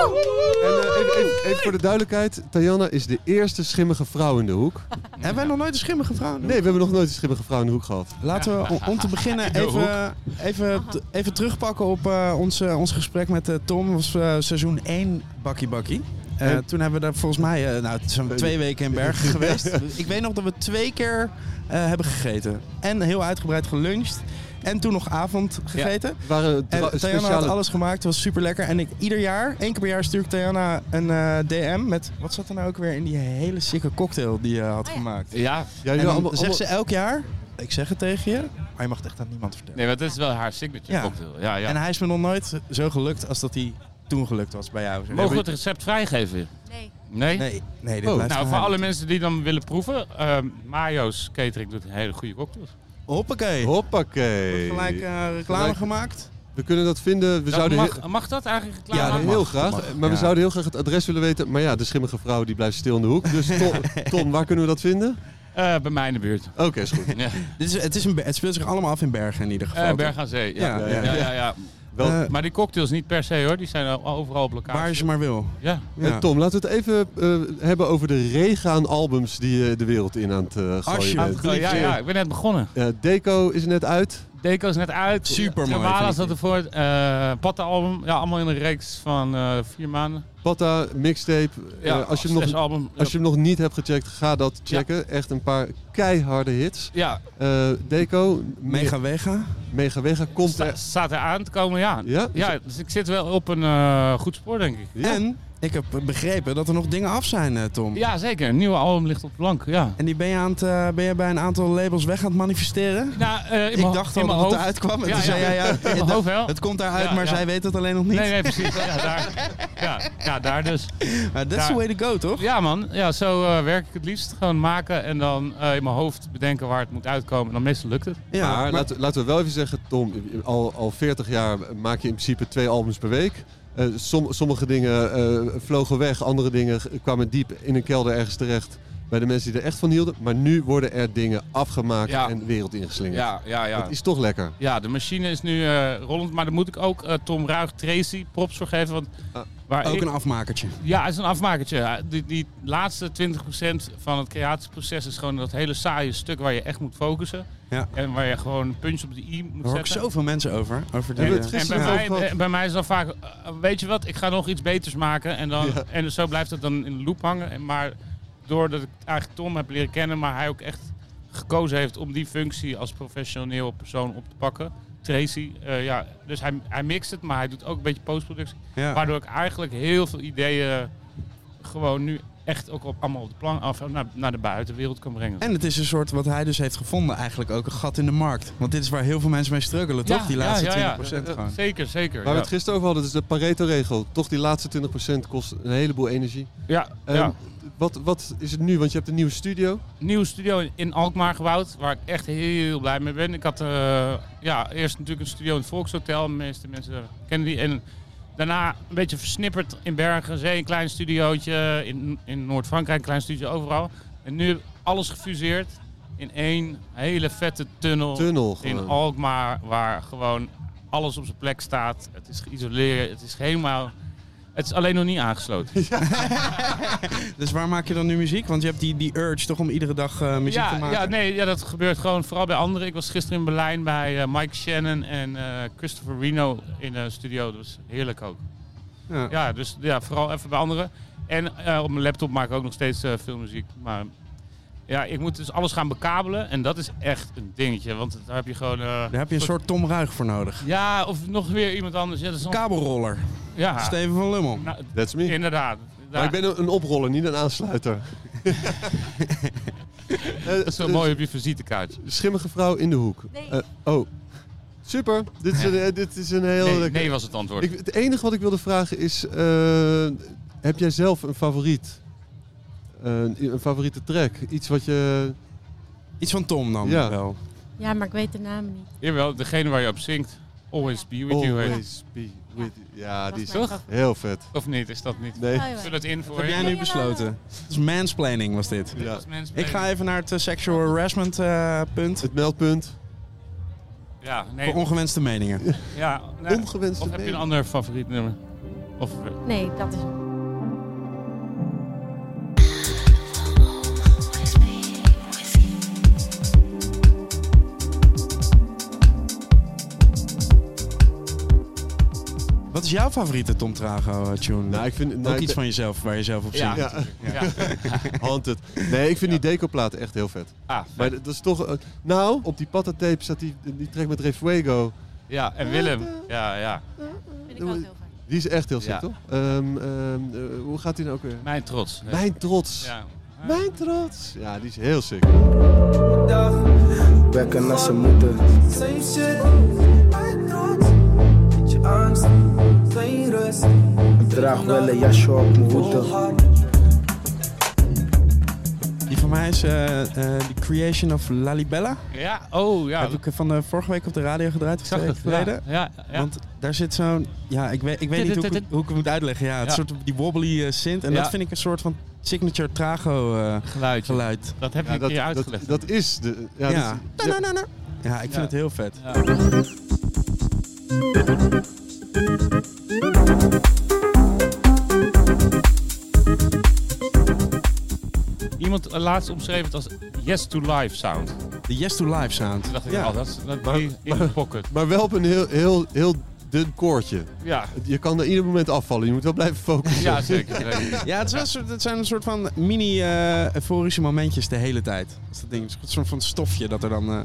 Oh. En eh, even, even, even voor de duidelijkheid, Tajanna is de eerste schimmige vrouw in de hoek. Hebben wij nog nooit een schimmige vrouw? Nee, we hebben nog nooit een schimmige vrouw in de hoek gehad. Laten we om, om te beginnen even, even, even terugpakken op eh, ons, eh, ons gesprek met eh, Tom. Dat was eh, seizoen 1 Bakkie Bakkie. Eh, En- toen hebben we daar volgens mij eh, nou, het zijn twee weken in Bergen geweest. Ik weet nog dat we twee keer eh, hebben gegeten. En heel uitgebreid geluncht. En toen nog avond gegeten. waren en dra- Tayana had speciale- alles gemaakt. Het was super lekker. En ik, ieder jaar, één keer per jaar, stuur ik Tayana een eh, DM met... Wat zat er nou ook weer in die hele sikke cocktail die je had gemaakt? Ja. en dan zegt ze elk jaar... Ik zeg het tegen je, maar je mag het echt aan niemand vertellen. Nee, maar dat is wel haar signature cocktail. Ja, ja. En hij is me nog nooit zo gelukt als dat hij toen gelukt was bij jou. Mogen we het recept vrijgeven? Nee. Nee? Nee, nee, dit Oh. blijft Nou, voor geheim. alle mensen die dan willen proeven, eh, Mario's Catering doet een hele goede cocktails. Hoppakee. Hoppakee. Gelijk eh, reclame Gelijk- gemaakt. We kunnen dat vinden. We Dat zouden mag, mag dat eigenlijk reclame? Ja, maken? heel graag. Mag. maar we Ja. zouden heel graag het adres willen weten. Maar ja, de schimmige vrouw die blijft stil in de hoek. Dus Tom, Tom, waar kunnen we dat vinden? Eh, bij mij in de buurt. Oké, is goed. Ja. Dit is, het, is een, be- het speelt zich allemaal af in Bergen in ieder geval. Eh, toch? Berg aan Zee. Ja, ja, ja. ja, Wel- Eh, maar die cocktails niet per se hoor, die zijn al- overal op elkaar. Waar je ze maar wil. Ja. Eh, En Eh, Tom, laten we het even eh, hebben over de regen aan albums die je de wereld in aan het eh, gooien bent. Alsjeblieft. Ja, ja, ik ben net begonnen. Eh, Deco is net uit. Deco is net uit. Supermooi, Travala vind ik zat ervoor. eh Patta album. Ja, allemaal in een reeks van eh, vier maanden. Patta, mixtape. Ja, Eh, als, je hem zes nog, album. als je hem nog niet hebt gecheckt, ga dat checken. Echt een paar keiharde hits. Ja. Eh, Deco. Mega Wega. Mega Wega komt Sta- er. staat er aan te komen, ja. Ja? dus ik zit wel op een eh, goed spoor, denk ik. En ik heb begrepen dat er nog dingen af zijn, eh, Tom. Ja, zeker. Een nieuwe album ligt op blank, ja. En die ben je, aan het, eh, ben je bij een aantal labels weg aan het manifesteren? Nou, eh, in ik mijn ho- dacht in al dat mijn het hoofd. eruit kwam. En Ja, toen zei ja. jij, ja, In mijn hoofd wel. Het komt eruit, Ja, maar ja. zij weet het alleen nog niet. Nee, nee, precies. Ja, daar. Ja, ja daar dus. Maar that's the way to go, toch? Ja, man. Ja, zo eh, werk ik het liefst. Gewoon maken en dan eh, in mijn hoofd bedenken waar het moet uitkomen. En dan meestal lukt het. maar, Laten, we- laten we wel even zeggen, Tom, al, al 40 jaar maak je in principe twee albums per week. Eh, som- sommige dingen eh, vlogen weg, andere dingen g- kwamen diep in een kelder ergens terecht bij de mensen die er echt van hielden. Maar nu worden er dingen afgemaakt Ja. en de wereld ingeslingerd. Ja, ja, ja. Dat is toch lekker. Ja, de machine is nu eh, rollend. Maar dan moet ik ook eh, Tom Ruig Tracy props voor geven. Want waar Ah, Ook ik- een afmakertje. Ja, het is een afmakertje. Ja, Die, die laatste 20% van het creatieproces is gewoon dat hele saaie stuk waar je echt moet focussen. Ja. En waar je gewoon een punch op de i moet Daar hoor ik zetten. zoveel mensen over. over die, En, eh, en bij, mij, eh, bij mij is dan vaak, eh, weet je wat, ik ga nog iets beters maken. En, dan, en dus zo blijft het dan in de loop hangen. En maar doordat ik eigenlijk Tom heb leren kennen, maar hij ook echt gekozen heeft om die functie als professioneel persoon op te pakken. Tracy, eh, ja, dus hij, hij mixt het, maar hij doet ook een beetje postproductie. Ja. Waardoor ik eigenlijk heel veel ideeën gewoon nu echt ook op, allemaal op de plank af naar, naar de buitenwereld kan brengen. En het is een soort, wat hij dus heeft gevonden, eigenlijk ook een gat in de markt. Want dit is waar heel veel mensen mee struggelen, toch? Die laatste 20% gewoon. Eh, Zeker, zeker. Waar we ja. het gisteren over hadden, dat is de Pareto-regel. Toch die laatste 20% kost een heleboel energie. Ja, Ehm, ja. Wat, wat is het nu? Want je hebt een nieuwe studio. nieuwe studio in- in Alkmaar gebouwd, waar ik echt heel blij mee ben. Ik had eh, ja, eerst natuurlijk een studio in het Volkshotel, de meeste mensen kennen die. En daarna een beetje versnipperd in Bergen, aan Zee, een klein studiootje, in, in Noord-Frankrijk, een klein studio overal. En nu alles gefuseerd in één hele vette tunnel, Tunnel in gewoon. Alkmaar, waar gewoon alles op zijn plek staat. Het is geïsoleerd, het is helemaal... Het is alleen nog niet aangesloten. Dus waar maak je dan nu muziek? Want je hebt die, die urge toch om iedere dag eh, muziek ja, te maken? Ja, nee, ja, dat gebeurt gewoon vooral bij anderen. Ik was gisteren in Berlijn bij eh, Mike Shannon en eh, Christopher Reno in de studio. Dat was heerlijk ook. Ja. Ja, dus ja, vooral even bij anderen. En eh, op mijn laptop maak ik ook nog steeds eh, veel muziek. Maar Ja, ik moet dus alles gaan bekabelen. En dat is echt een dingetje. Want daar heb je gewoon... eh, Daar heb je een soort Tom Ruig voor nodig. Ja, of nog weer iemand anders. Ja, dat is nog- Kabelroller. Ja. Steven van Lummel. Nou, That's me. Inderdaad. Maar ik ben een- een oproller, niet een aansluiter. Dat is eh, wel mooi op je visitekaart. Schimmige vrouw in de hoek. Eh, oh. Super. Dit is, een, eh, dit is een heel... Nee, lekker- nee was het antwoord. Ik, het enige wat ik wilde vragen is... eh, heb jij zelf een favoriet? Eh, een favoriete track? Iets wat je... Iets van Tom dan ja. wel. Ja, maar ik weet de naam niet. Jawel, degene waar je op zingt. Always be with you. heet Always be with you. Ja, die is mijn toch heel vet. Of niet, is dat niet? Nee. Vul het in voor Wat heb je. jij nu besloten? Het is mansplaining was dit. Ja. Ik ga even naar het eh, sexual harassment eh, punt. Het meldpunt. Ja, nee. Voor ongewenste meningen. Ja, nee. Ongewenste Of heb je een mening. ander favoriet nummer? Of... Nee, dat is. Wat is jouw favoriete Tom Trago eh, tune? Nou, ik vind, nou, Ook ik iets ben- van jezelf, waar je zelf op Ja. zingt. Ja. Haunted. Nee, ik vind die decoplaat echt heel vet. Ah, maar dat is toch... eh, nou, op die patatape zat die, die track met Refuego. Ja, en Willem. Ja, ja. Vind ik ook heel fijn. Die is echt heel sick, Ja. toch? Ehm, ehm, eh, hoe gaat die nou ook weer? Mijn trots. Nee. Mijn trots. Ja. Mijn trots. Ja, die is heel sick. Bekken naar zijn moeder. Same shit, mijn trots. Beetje angst, geen rust. Ik draag wel een jasje op mijn voeten. Die van mij is eh, eh, The Creation of Lalibella. Ja, oh ja. Heb ik eh, van eh, vorige week op de radio gedraaid. Ik zag het, ja. Geleden. Ja, ja. Want daar zit zo'n... Ja, ik weet, ik weet niet hoe ik, het- hoe ik het moet uitleggen. Ja, het Ja. soort die wobbly eh, synth. En Ja. dat vind ik een soort van signature trago eh, geluid. Dat heb je Ja, een dat- keer dat- uitgelegd. Dat is de... Ja, Ja. dat is- ja. Ja, ik vind Ja. het heel vet. Iemand eh, laatst omschreef het als yes to life sound. De yes to life sound. Toen dacht ik, Ja. oh, dat is dat Maar- in in de pocket. Maar wel op een heel, heel, heel dun koordje. Ja. Je kan er ieder moment afvallen. Je moet wel blijven focussen. Ja, zeker, zeker. Ja, het, is wel een soort- het zijn een soort van mini-euforische momentjes de hele tijd. Dat is dat ding. Een soort van stofje dat er dan... eh,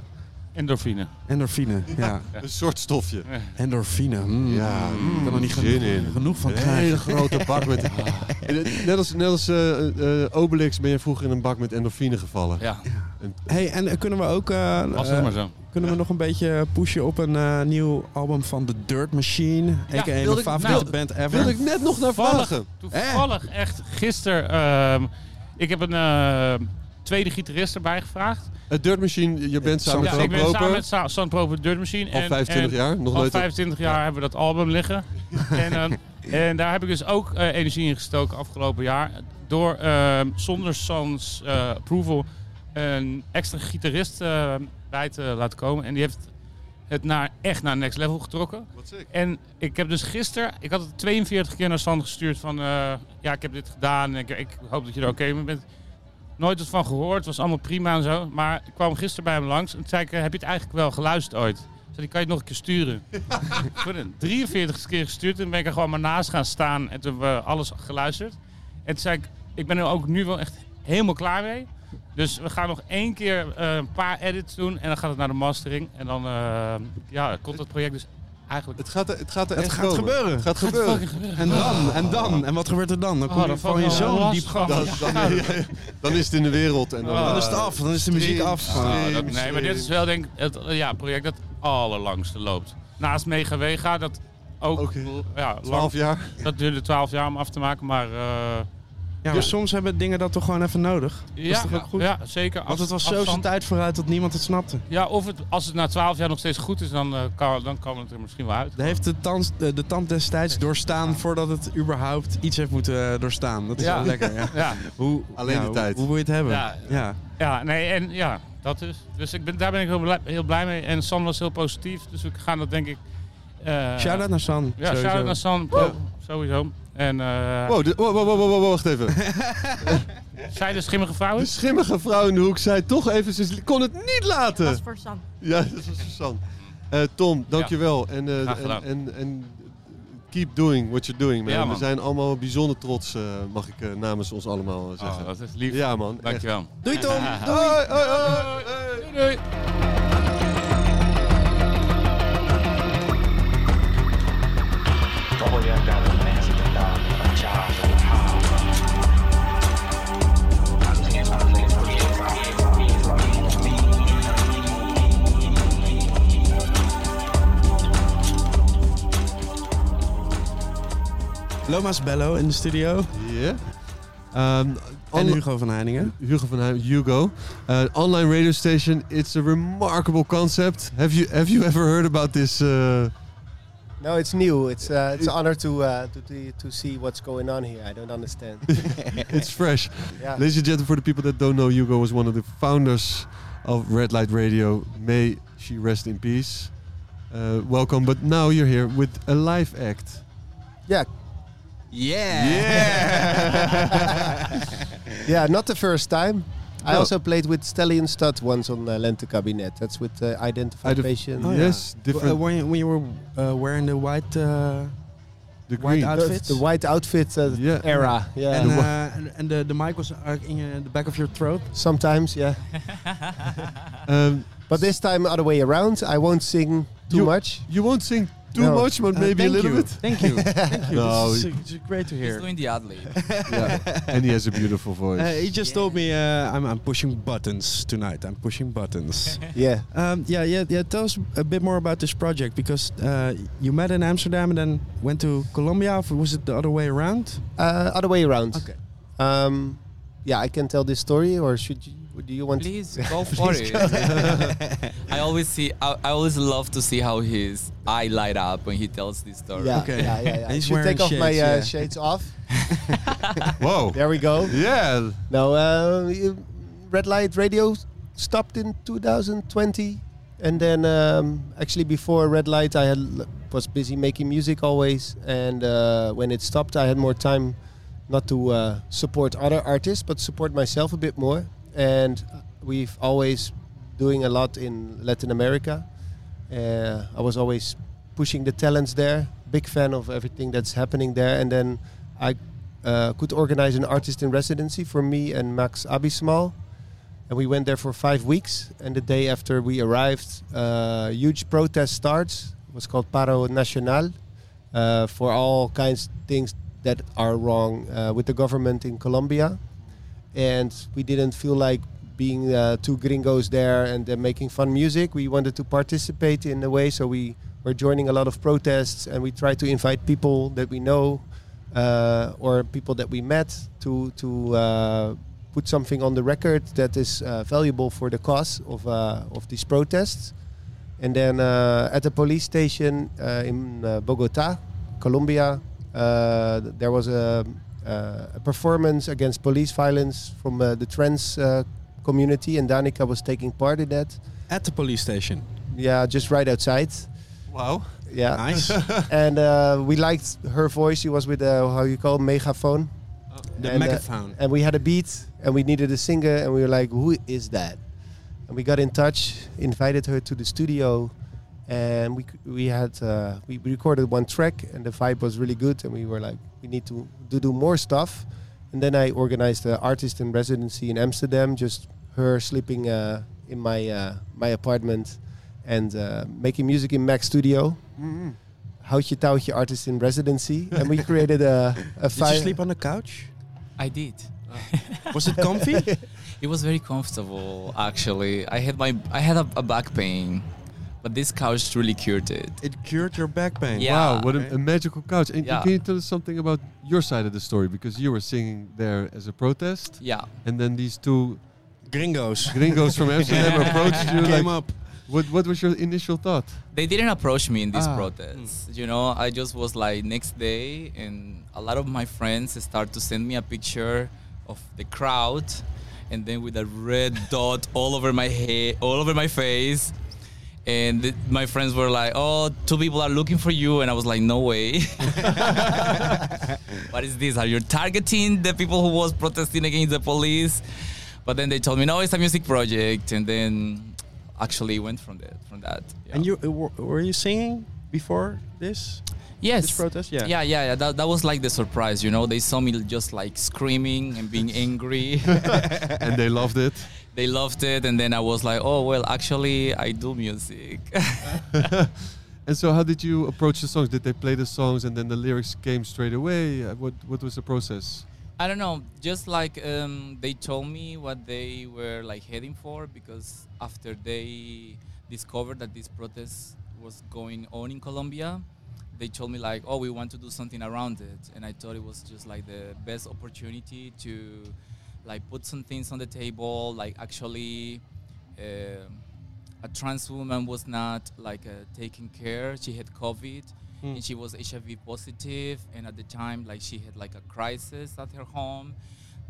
Endorfine. endorfine, ja. Een soort stofje. Endorfine, mm. Ja, Mm, ik kan er niet zin genoeg, in. genoeg van Een krijgen. hele grote bak met... En het- Net als, net als eh, eh, Obelix ben je vroeger in een bak met endorfine gevallen. Ja. En Hey, en eh, kunnen we ook. eh, Was het eh, maar zo. Kunnen we nog een beetje pushen op een eh, nieuw album van The Dirt Machine? Ja, a.k.a. wilde mijn ik- favoriete nou, band ever. wilde ik net nog naar Toevallig- vragen. Toevallig, echt gisteren. ehm, ik heb een eh, tweede gitarist erbij gevraagd. Het Dirt Machine, je bent samen ja, met ik ben Proper. samen met Sa- San Proper Dirt Machine. Al 25 jaar, nog al nooit op- 25 jaar hebben we dat album liggen. en, ehm, en daar heb ik dus ook eh, energie in gestoken afgelopen jaar. Door ehm, zonder Sans eh, approval een extra gitarist eh, bij te laten komen. En die heeft het naar, echt naar next level getrokken. En ik heb dus gisteren, ik had het 42 keer naar San gestuurd van... eh, ja, ik heb dit gedaan en ik, ik hoop dat je er oké mee bent. Nooit wat van gehoord, het was allemaal prima en zo. Maar ik kwam gisteren bij hem langs en toen zei ik, eh, heb je het eigenlijk wel geluisterd ooit? Toen Zei, die kan je het nog een keer sturen. ik heb het 43 keer gestuurd en ben ik er gewoon maar naast gaan staan. En toen hebben we alles geluisterd. En toen zei ik, ik ben er ook nu wel echt helemaal klaar mee. Dus we gaan nog één keer eh, een paar edits doen en dan gaat het naar de mastering. En dan eh, ja, komt het project dus eigenlijk... Het gaat, het gaat, Het gaat gebeuren. Ah. Het gaat gebeuren. fucking gebeuren. En dan, en dan. En wat gebeurt er dan? Dan Oh, kom je dat van vond je ik wel zo'n lastig. diep gat. Dan, dan, dan is het in de wereld. En dan, Dan eh, is het af, dan is de muziek stream, af. Ah, stream, dat- nee, maar dit is wel denk ik het eh, ja, project dat allerlangste loopt. Naast Mega Wega, dat ook... ja, 12 jaar. Dat duurde 12 jaar om af te maken, maar... eh, Ja, Dus- maar Dus soms hebben dingen dat toch gewoon even nodig? ja, dat is toch ook goed? ja, zeker. Want het was zo Afstand. zijn tijd vooruit dat niemand het snapte. Ja, of het, als het na 12 jaar nog steeds goed is, dan, eh, kan, dan kan het er misschien wel uit. Dat heeft de, tans, de, de tand destijds doorstaan voordat het überhaupt iets heeft moeten eh, doorstaan. Dat is Ja. wel lekker. Ja. Ja. Hoe, Alleen ja, de hoe- tijd. Hoe, wil je het hebben? Ja. ja. Ja, nee, en ja, dat is. Dus ik ben, daar ben ik heel blij, heel blij mee. En San was heel positief, dus we gaan dat denk ik. eh, Shout-out naar San, Ja, sowieso. shout-out naar San, ja, sowieso. En, eh Wow, dit- wow, wow, wow, wow, wow, wacht even. Zij de schimmige vrouwen? De schimmige vrouw in de hoek zei toch even, ze kon het niet laten. Dat is voor San. Ja, dat was voor San. Eh, Tom, dankjewel. En, eh, Graag en, gedaan. en, en Keep doing what you're doing, man. Ja, We man. zijn allemaal bijzonder trots, eh, mag ik eh, namens ons allemaal eh, zeggen. dat is lief. Ja, man. Dankjewel. echt. Doei, Tom. Doei. Hoi, hoi, Doei, doei. Lomas Bello in de studio. Ja. en Ehm, Hugo van Heiningen. Hugo van Heim, Hugo. Uh, online radio station, it's a remarkable concept. Have you, have you ever heard about this? Uh, No, it's new. It's uh, it's an honor to, uh, to to to see what's going on here. I don't understand. it's fresh. Yeah. Ladies and gentlemen, for the people that don't know, Hugo was one of the founders of Red Light Radio. May she rest in peace. Uh, welcome, but now you're here with a live act. Yeah. Yeah. yeah, not the first time. I No. also played with Stallion Stud once on uh, Lente Cabinet. That's with uh, identification. Oh, yeah. Uh, when, you- when you were uh, wearing the white, uh, the white green. outfits. The- the white outfit uh, Yeah. era, yeah. And, The whi- uh, and, and the, the mic was uh, in your- the back of your throat. Sometimes, yeah. Um, but this time, other way around. I won't sing too much. You won't sing too much, but Uh, maybe a thank little you. bit. Thank you. Thank you. No, this, is, he- uh, this is great to hear. He's doing the ad lib. yeah. And he has a beautiful voice. Uh, he just told me uh, I'm, I'm pushing buttons tonight. I'm pushing buttons. Yeah. Um, yeah, yeah, yeah. Tell us a bit more about this project because uh, you met in Amsterdam and then went to Colombia. Or was it the other way around? Uh, other way around. Okay. Um, yeah, I can tell this story, or should you? Do you want? Please go for Please it. go. I always see. I, I always love to see how his eye light up when he tells this story. Yeah, yeah, yeah. yeah. Should take off my uh, shades off. Whoa! There we go. Yeah. No, uh, you- red light radio stopped in 2020, and then um, actually before red light, I had l- was busy making music always, and uh, when it stopped, I had more time not to uh, support other artists, but support myself a bit more. And we've always doing a lot in Latin America. Uh, I was always pushing the talents there. Big fan of everything that's happening there. And then I uh, could organize an artist in residency for me and Max Abismal. And we went there for five weeks. And the day after we arrived, uh, huge protest starts. It was called Paro Nacional uh, for all kinds of things that are wrong uh, with the government in Colombia. And we didn't feel like being uh, two gringos there and then making fun music. We wanted to participate in a way, so we were joining a lot of protests and we tried to invite people that we know uh, or people that we met to to uh, put something on the record that is uh, valuable for the cause of uh, of these protests. And then uh, at the police station uh, in uh, Bogota, Colombia, uh, th- there was a, uh, a performance against police violence from uh, the trans uh, community, and Danica was taking part in that. At the police station. Yeah, just right outside. Wow. Yeah. Nice. and uh, we liked her voice. She was with a, how you call it, megaphone. Oh, The uh, megaphone. and we had a beat, and we needed a singer, and we were like, "Who is that?" And we got in touch, invited her to the studio, and we c- we had uh, we we recorded one track, and the vibe was really good, and we were like, "We need to to do more stuff." And then I organized an artist in residency in Amsterdam, just her sleeping uh, in my uh, my apartment and uh, making music in Mac Studio. Mm-hmm. Mhm. Houtje Touwtje Artist in Residency, and we created a, a Did you fire. sleep on the couch? I did. Was it comfy? it was very comfortable, actually. I had my I had a, a back pain, but this couch really cured it. It cured your back pain. Yeah. Wow, what a, a magical couch. And Yeah. can you tell us something about your side of the story? Because you were singing there as a protest. Yeah. And then these two gringos gringos from Amsterdam approached you. Came like, up. What, what was your initial thought? They didn't approach me in this Ah. protest. You know, I just was like next day, and a lot of my friends start to send me a picture of the crowd, and then with a red dot all over my head, all over my face. And th- my friends were like, "Oh, two people are looking for you," and I was like, "No way! what is this? Are you targeting the people who was protesting against the police?" But then they told me, "No, it's a music project," and then actually went from that. From that. And you uh, were, were you singing before this? Yes. This protest? Yeah. Yeah, yeah, yeah. That, that was like the surprise, you know. They saw me just like screaming and being angry. and they loved it. They loved it. And then I was like, oh, well, actually, I do music. And so, how did you approach the songs? Did they play the songs and then the lyrics came straight away? Uh, What What was the process? I don't know. Just like um, they told me what they were like heading for, because after they discovered that this protest was going on in Colombia, they told me like, "Oh, we want to do something around it," and I thought it was just like the best opportunity to like put some things on the table. Like actually, um a trans woman was not like uh, taken care. She had COVID Hmm. and she was HIV positive, and at the time, like she had like a crisis at her home.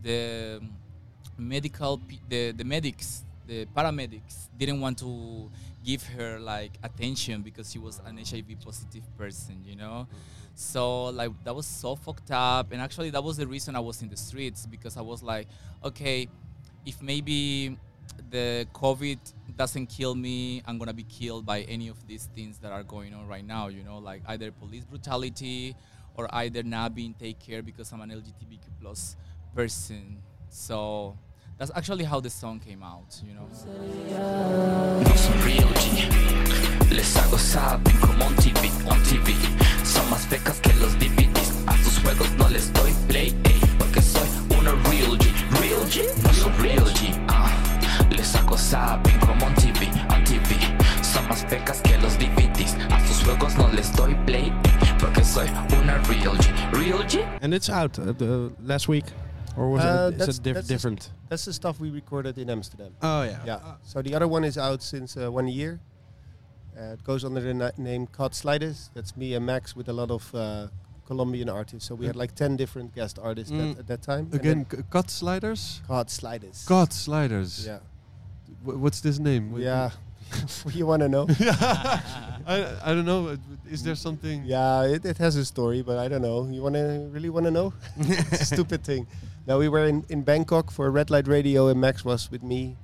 The um, medical, pe- the the medics, the paramedics didn't want to give her like attention because she was an HIV positive person, you know. So like that was so fucked up, and actually that was the reason I was in the streets because I was like, okay, if maybe the COVID doesn't kill me, I'm gonna be killed by any of these things that are going on right now. You know, like either police brutality or either not being take care because I'm an LGBTQ plus person. So that's actually how the song came out. You know. No son real G. Les hago zapping como un TV, un TV. Son más becas que los DVDs. A sus juegos no les doy play, ey, porque soy una real G, real G. No soy real G, ah. Les hago zapping como un TV, un TV. Son más becas que los DVDs. A sus juegos no les doy play, ey, porque soy una real G, real G. And it's out uh, the last week, or was Uh, it, is it diff- that's the- different? that's the stuff we recorded in Amsterdam. Oh, yeah. Yeah. so the other one is out since uh, one year. Uh, it goes under the na- name Cod Sliders. That's me and Max with a lot of uh, Colombian artists. Mm. So we had like ten different guest artists Mm. that, at that time. And Again, then c- cut sliders. Cod Sliders. Cut sliders. Yeah. Wh- what's this name? Wh- Yeah. you want to know? I, I don't know. Is there something? Yeah, it, it has a story, but I don't know. You want to really want to know? it's a stupid thing. Now we were in, in Bangkok for Red Light Radio, and Max was with me,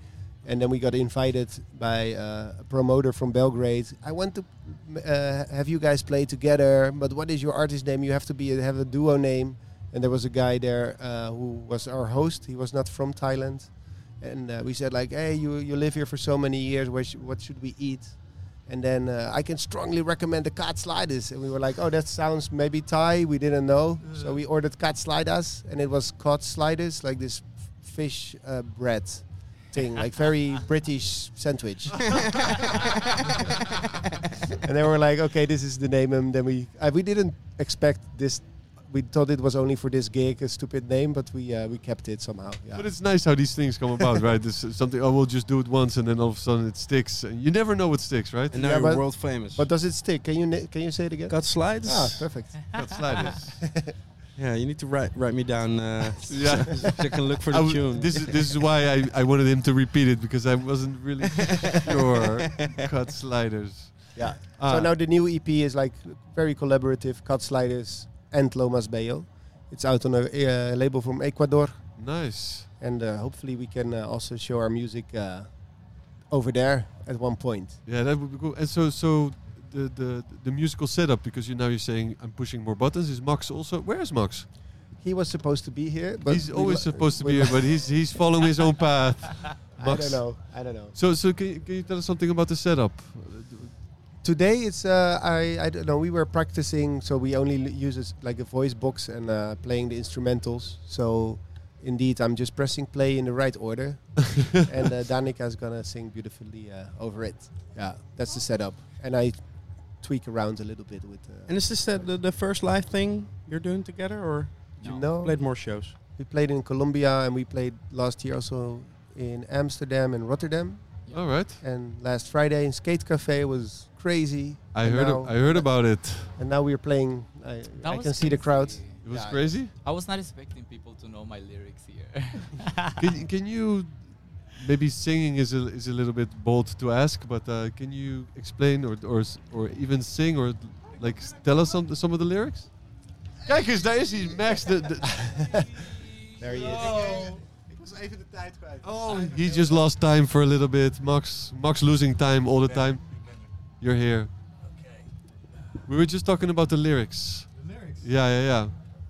and then we got invited by uh, a promoter from Belgrade. I want to eh, uh, have you guys play together, but what is your artist name? You have to be have a duo name. And there was a guy there uh, who was our host. He was not from Thailand, and uh, we said like, "Hey, you you live here for so many years. What, sh- what should we eat?" And then uh, I can strongly recommend the cat sliders. And we were like, oh, that sounds maybe Thai. We didn't know. So we ordered cat sliders, and it was cod sliders, like this f- fish uh, bread thing, like very British sandwich. and then we're like, okay, this is the name. And then we uh, we didn't expect this. We thought it was only for this gig, a stupid name, but we uh, we kept it somehow. Yeah. But it's nice how these things come about, right? This is something. Oh, we'll just do it once, and then all of a sudden it sticks. And you never know what sticks, right? Yeah, but- But does it stick? Can you na- can you say it again? Cut slides? Ah, perfect. Cut sliders. Yeah, you need to write write me down. Uh, Yeah, so I can look for I the w- tune. This is this is why I, I wanted him to repeat it because I wasn't really sure. Cut sliders. Yeah. Ah. So now the new EP is like very collaborative. Cut Sliders and Lomas Bayo. It's out on a uh, label from Ecuador. Nice. And uh, hopefully we can uh, also show our music uh, over there at one point. Yeah, that would be cool. And so, so the, the the musical setup because you now you're saying I'm pushing more buttons. Is Max also? Where is Max? He was supposed to be here, but he's we always lo- supposed to we be here, lo- but he's he's following his own path. I Max. don't know. I don't know. So, so can you, can you tell us something about the setup? Today it's uh, I I don't know. We were practicing, so we only l- use it like a voice box and uh, playing the instrumentals. So indeed, I'm just pressing play in the right order, and uh, Danica is gonna sing beautifully uh, over it. Yeah, that's the setup, and I tweak around a little bit with. Uh, and is this the, the, the first live thing you're doing together, or you know, played more shows? we played in Colombia, and we played last year also in Amsterdam and Rotterdam. All right. And last Friday in Skate Cafe was crazy. I And heard now- I heard about it. and now we're playing. I, I was can see the crowd. It was crazy. I was not expecting people to know my lyrics here. Can can you maybe singing is a is a little bit bold to ask, but uh, can you explain or or s- or even sing or like s- tell us some some of the lyrics? Kijk eens, daar is hij, Max. De, de There he is. Ik was even de tijd kwijt. Oh, he just lost time for a little bit. Max, Max losing time all the time. You're here. We were just talking about the lyrics. The lyrics. Yeah, yeah, yeah.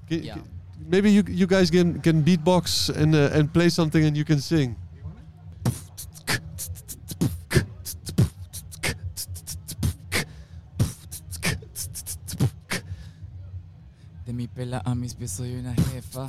Ki- Yeah. ki- maybe you you guys can can beatbox and uh, and play something and you can sing. De mi pela a mis pies soy una jefa.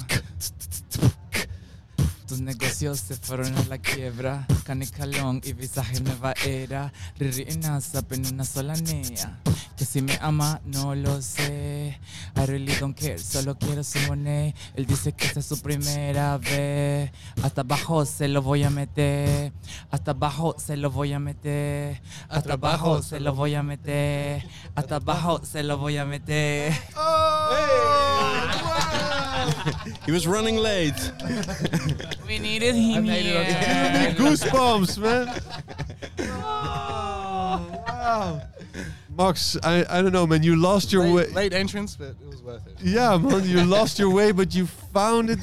Tus negocios se fueron a la quiebra. Canicalón y visaje nueva era. Riri y NASA, pero en una sola nea. Que si me ama, no lo sé. I really don't care, solo quiero su monet. Él dice que esta es su primera vez. Hasta abajo se lo voy a meter. Hasta abajo se lo voy a meter. Hasta abajo se lo voy a meter. Hasta abajo se lo voy a meter. He was running late. We needed him here. Goosebumps, man. Oh, Max, I I don't know, man. You lost your way. Late, late entrance, but it was worth it. Yeah, man. You lost your way, but you found it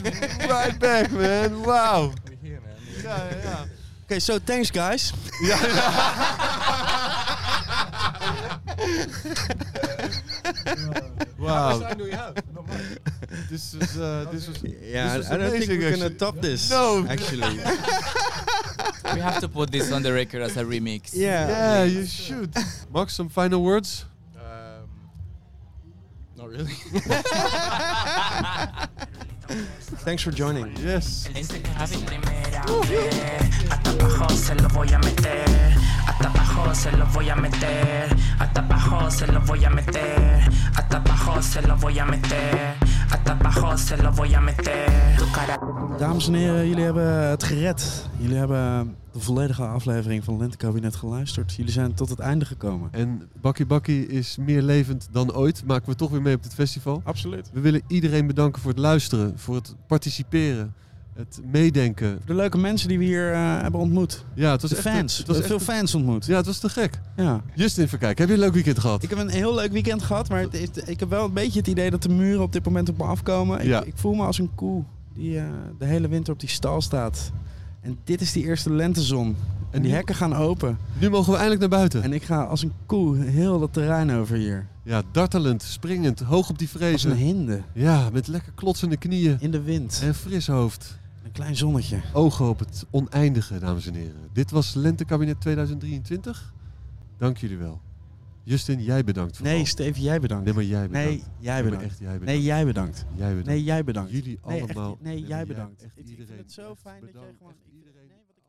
right back, man. Wow. Yeah, yeah. Okay, so thanks, guys. Wow. time do we have? Not much. This is uh, this was Yeah, this was I- I don't think amazing, we're gonna actually. top this, No, actually. We have to put this on the record as a remix. yeah, you should. Max, some final words. Um, Not really. Thanks for joining. Yes. Hasta abajo se lo voy a meter. Hasta abajo se lo voy a meter. Hasta abajo se lo voy a meter. Hasta abajo se lo voy a meter. Hasta abajo se lo voy a meter. Tu cara. Dames en heren, jullie hebben het gered. Jullie hebben de volledige aflevering van Lentekabinet geluisterd. Jullie zijn tot het einde gekomen. En Bakkie Bakkie is meer levend dan ooit. Maken we toch weer mee op dit festival. Absoluut. We willen iedereen bedanken voor het luisteren, voor het participeren, het meedenken. De leuke mensen die we hier eh, hebben ontmoet. Ja, het was de echt- fans. het was We echt- hebben veel fans ontmoet. Ja, het was te gek. Ja. Justin, even kijken. Heb je een leuk weekend gehad? Ik heb een heel leuk weekend gehad, maar het is- ik heb wel een beetje het idee dat de muren op dit moment op me afkomen. Ik, Ja. ik voel me als een koe die eh, de hele winter op die stal staat. En dit is die eerste lentezon. En die nu- hekken gaan open. Nu mogen we eindelijk naar buiten. En ik ga als een koe heel dat terrein over hier. Ja, dartelend, springend, hoog op die Als vrezen. een hinde. Ja, met lekker klotsende knieën. In de wind. En fris hoofd. Een klein zonnetje. Ogen op het oneindige, dames en heren. Dit was Lentekabinet 2023. Dank jullie wel. Justin, jij bedankt. Nee, Steve, jij bedankt. Nee, maar jij bedankt. Nee, jij maar bedankt. echt, jij bedankt. Nee, jij bedankt. Jij bedankt. Nee, jij bedankt. Jullie Nee, echt- allemaal. Nee, maar jij bedankt. Echt iedereen. zo fijn dat jij gewoon...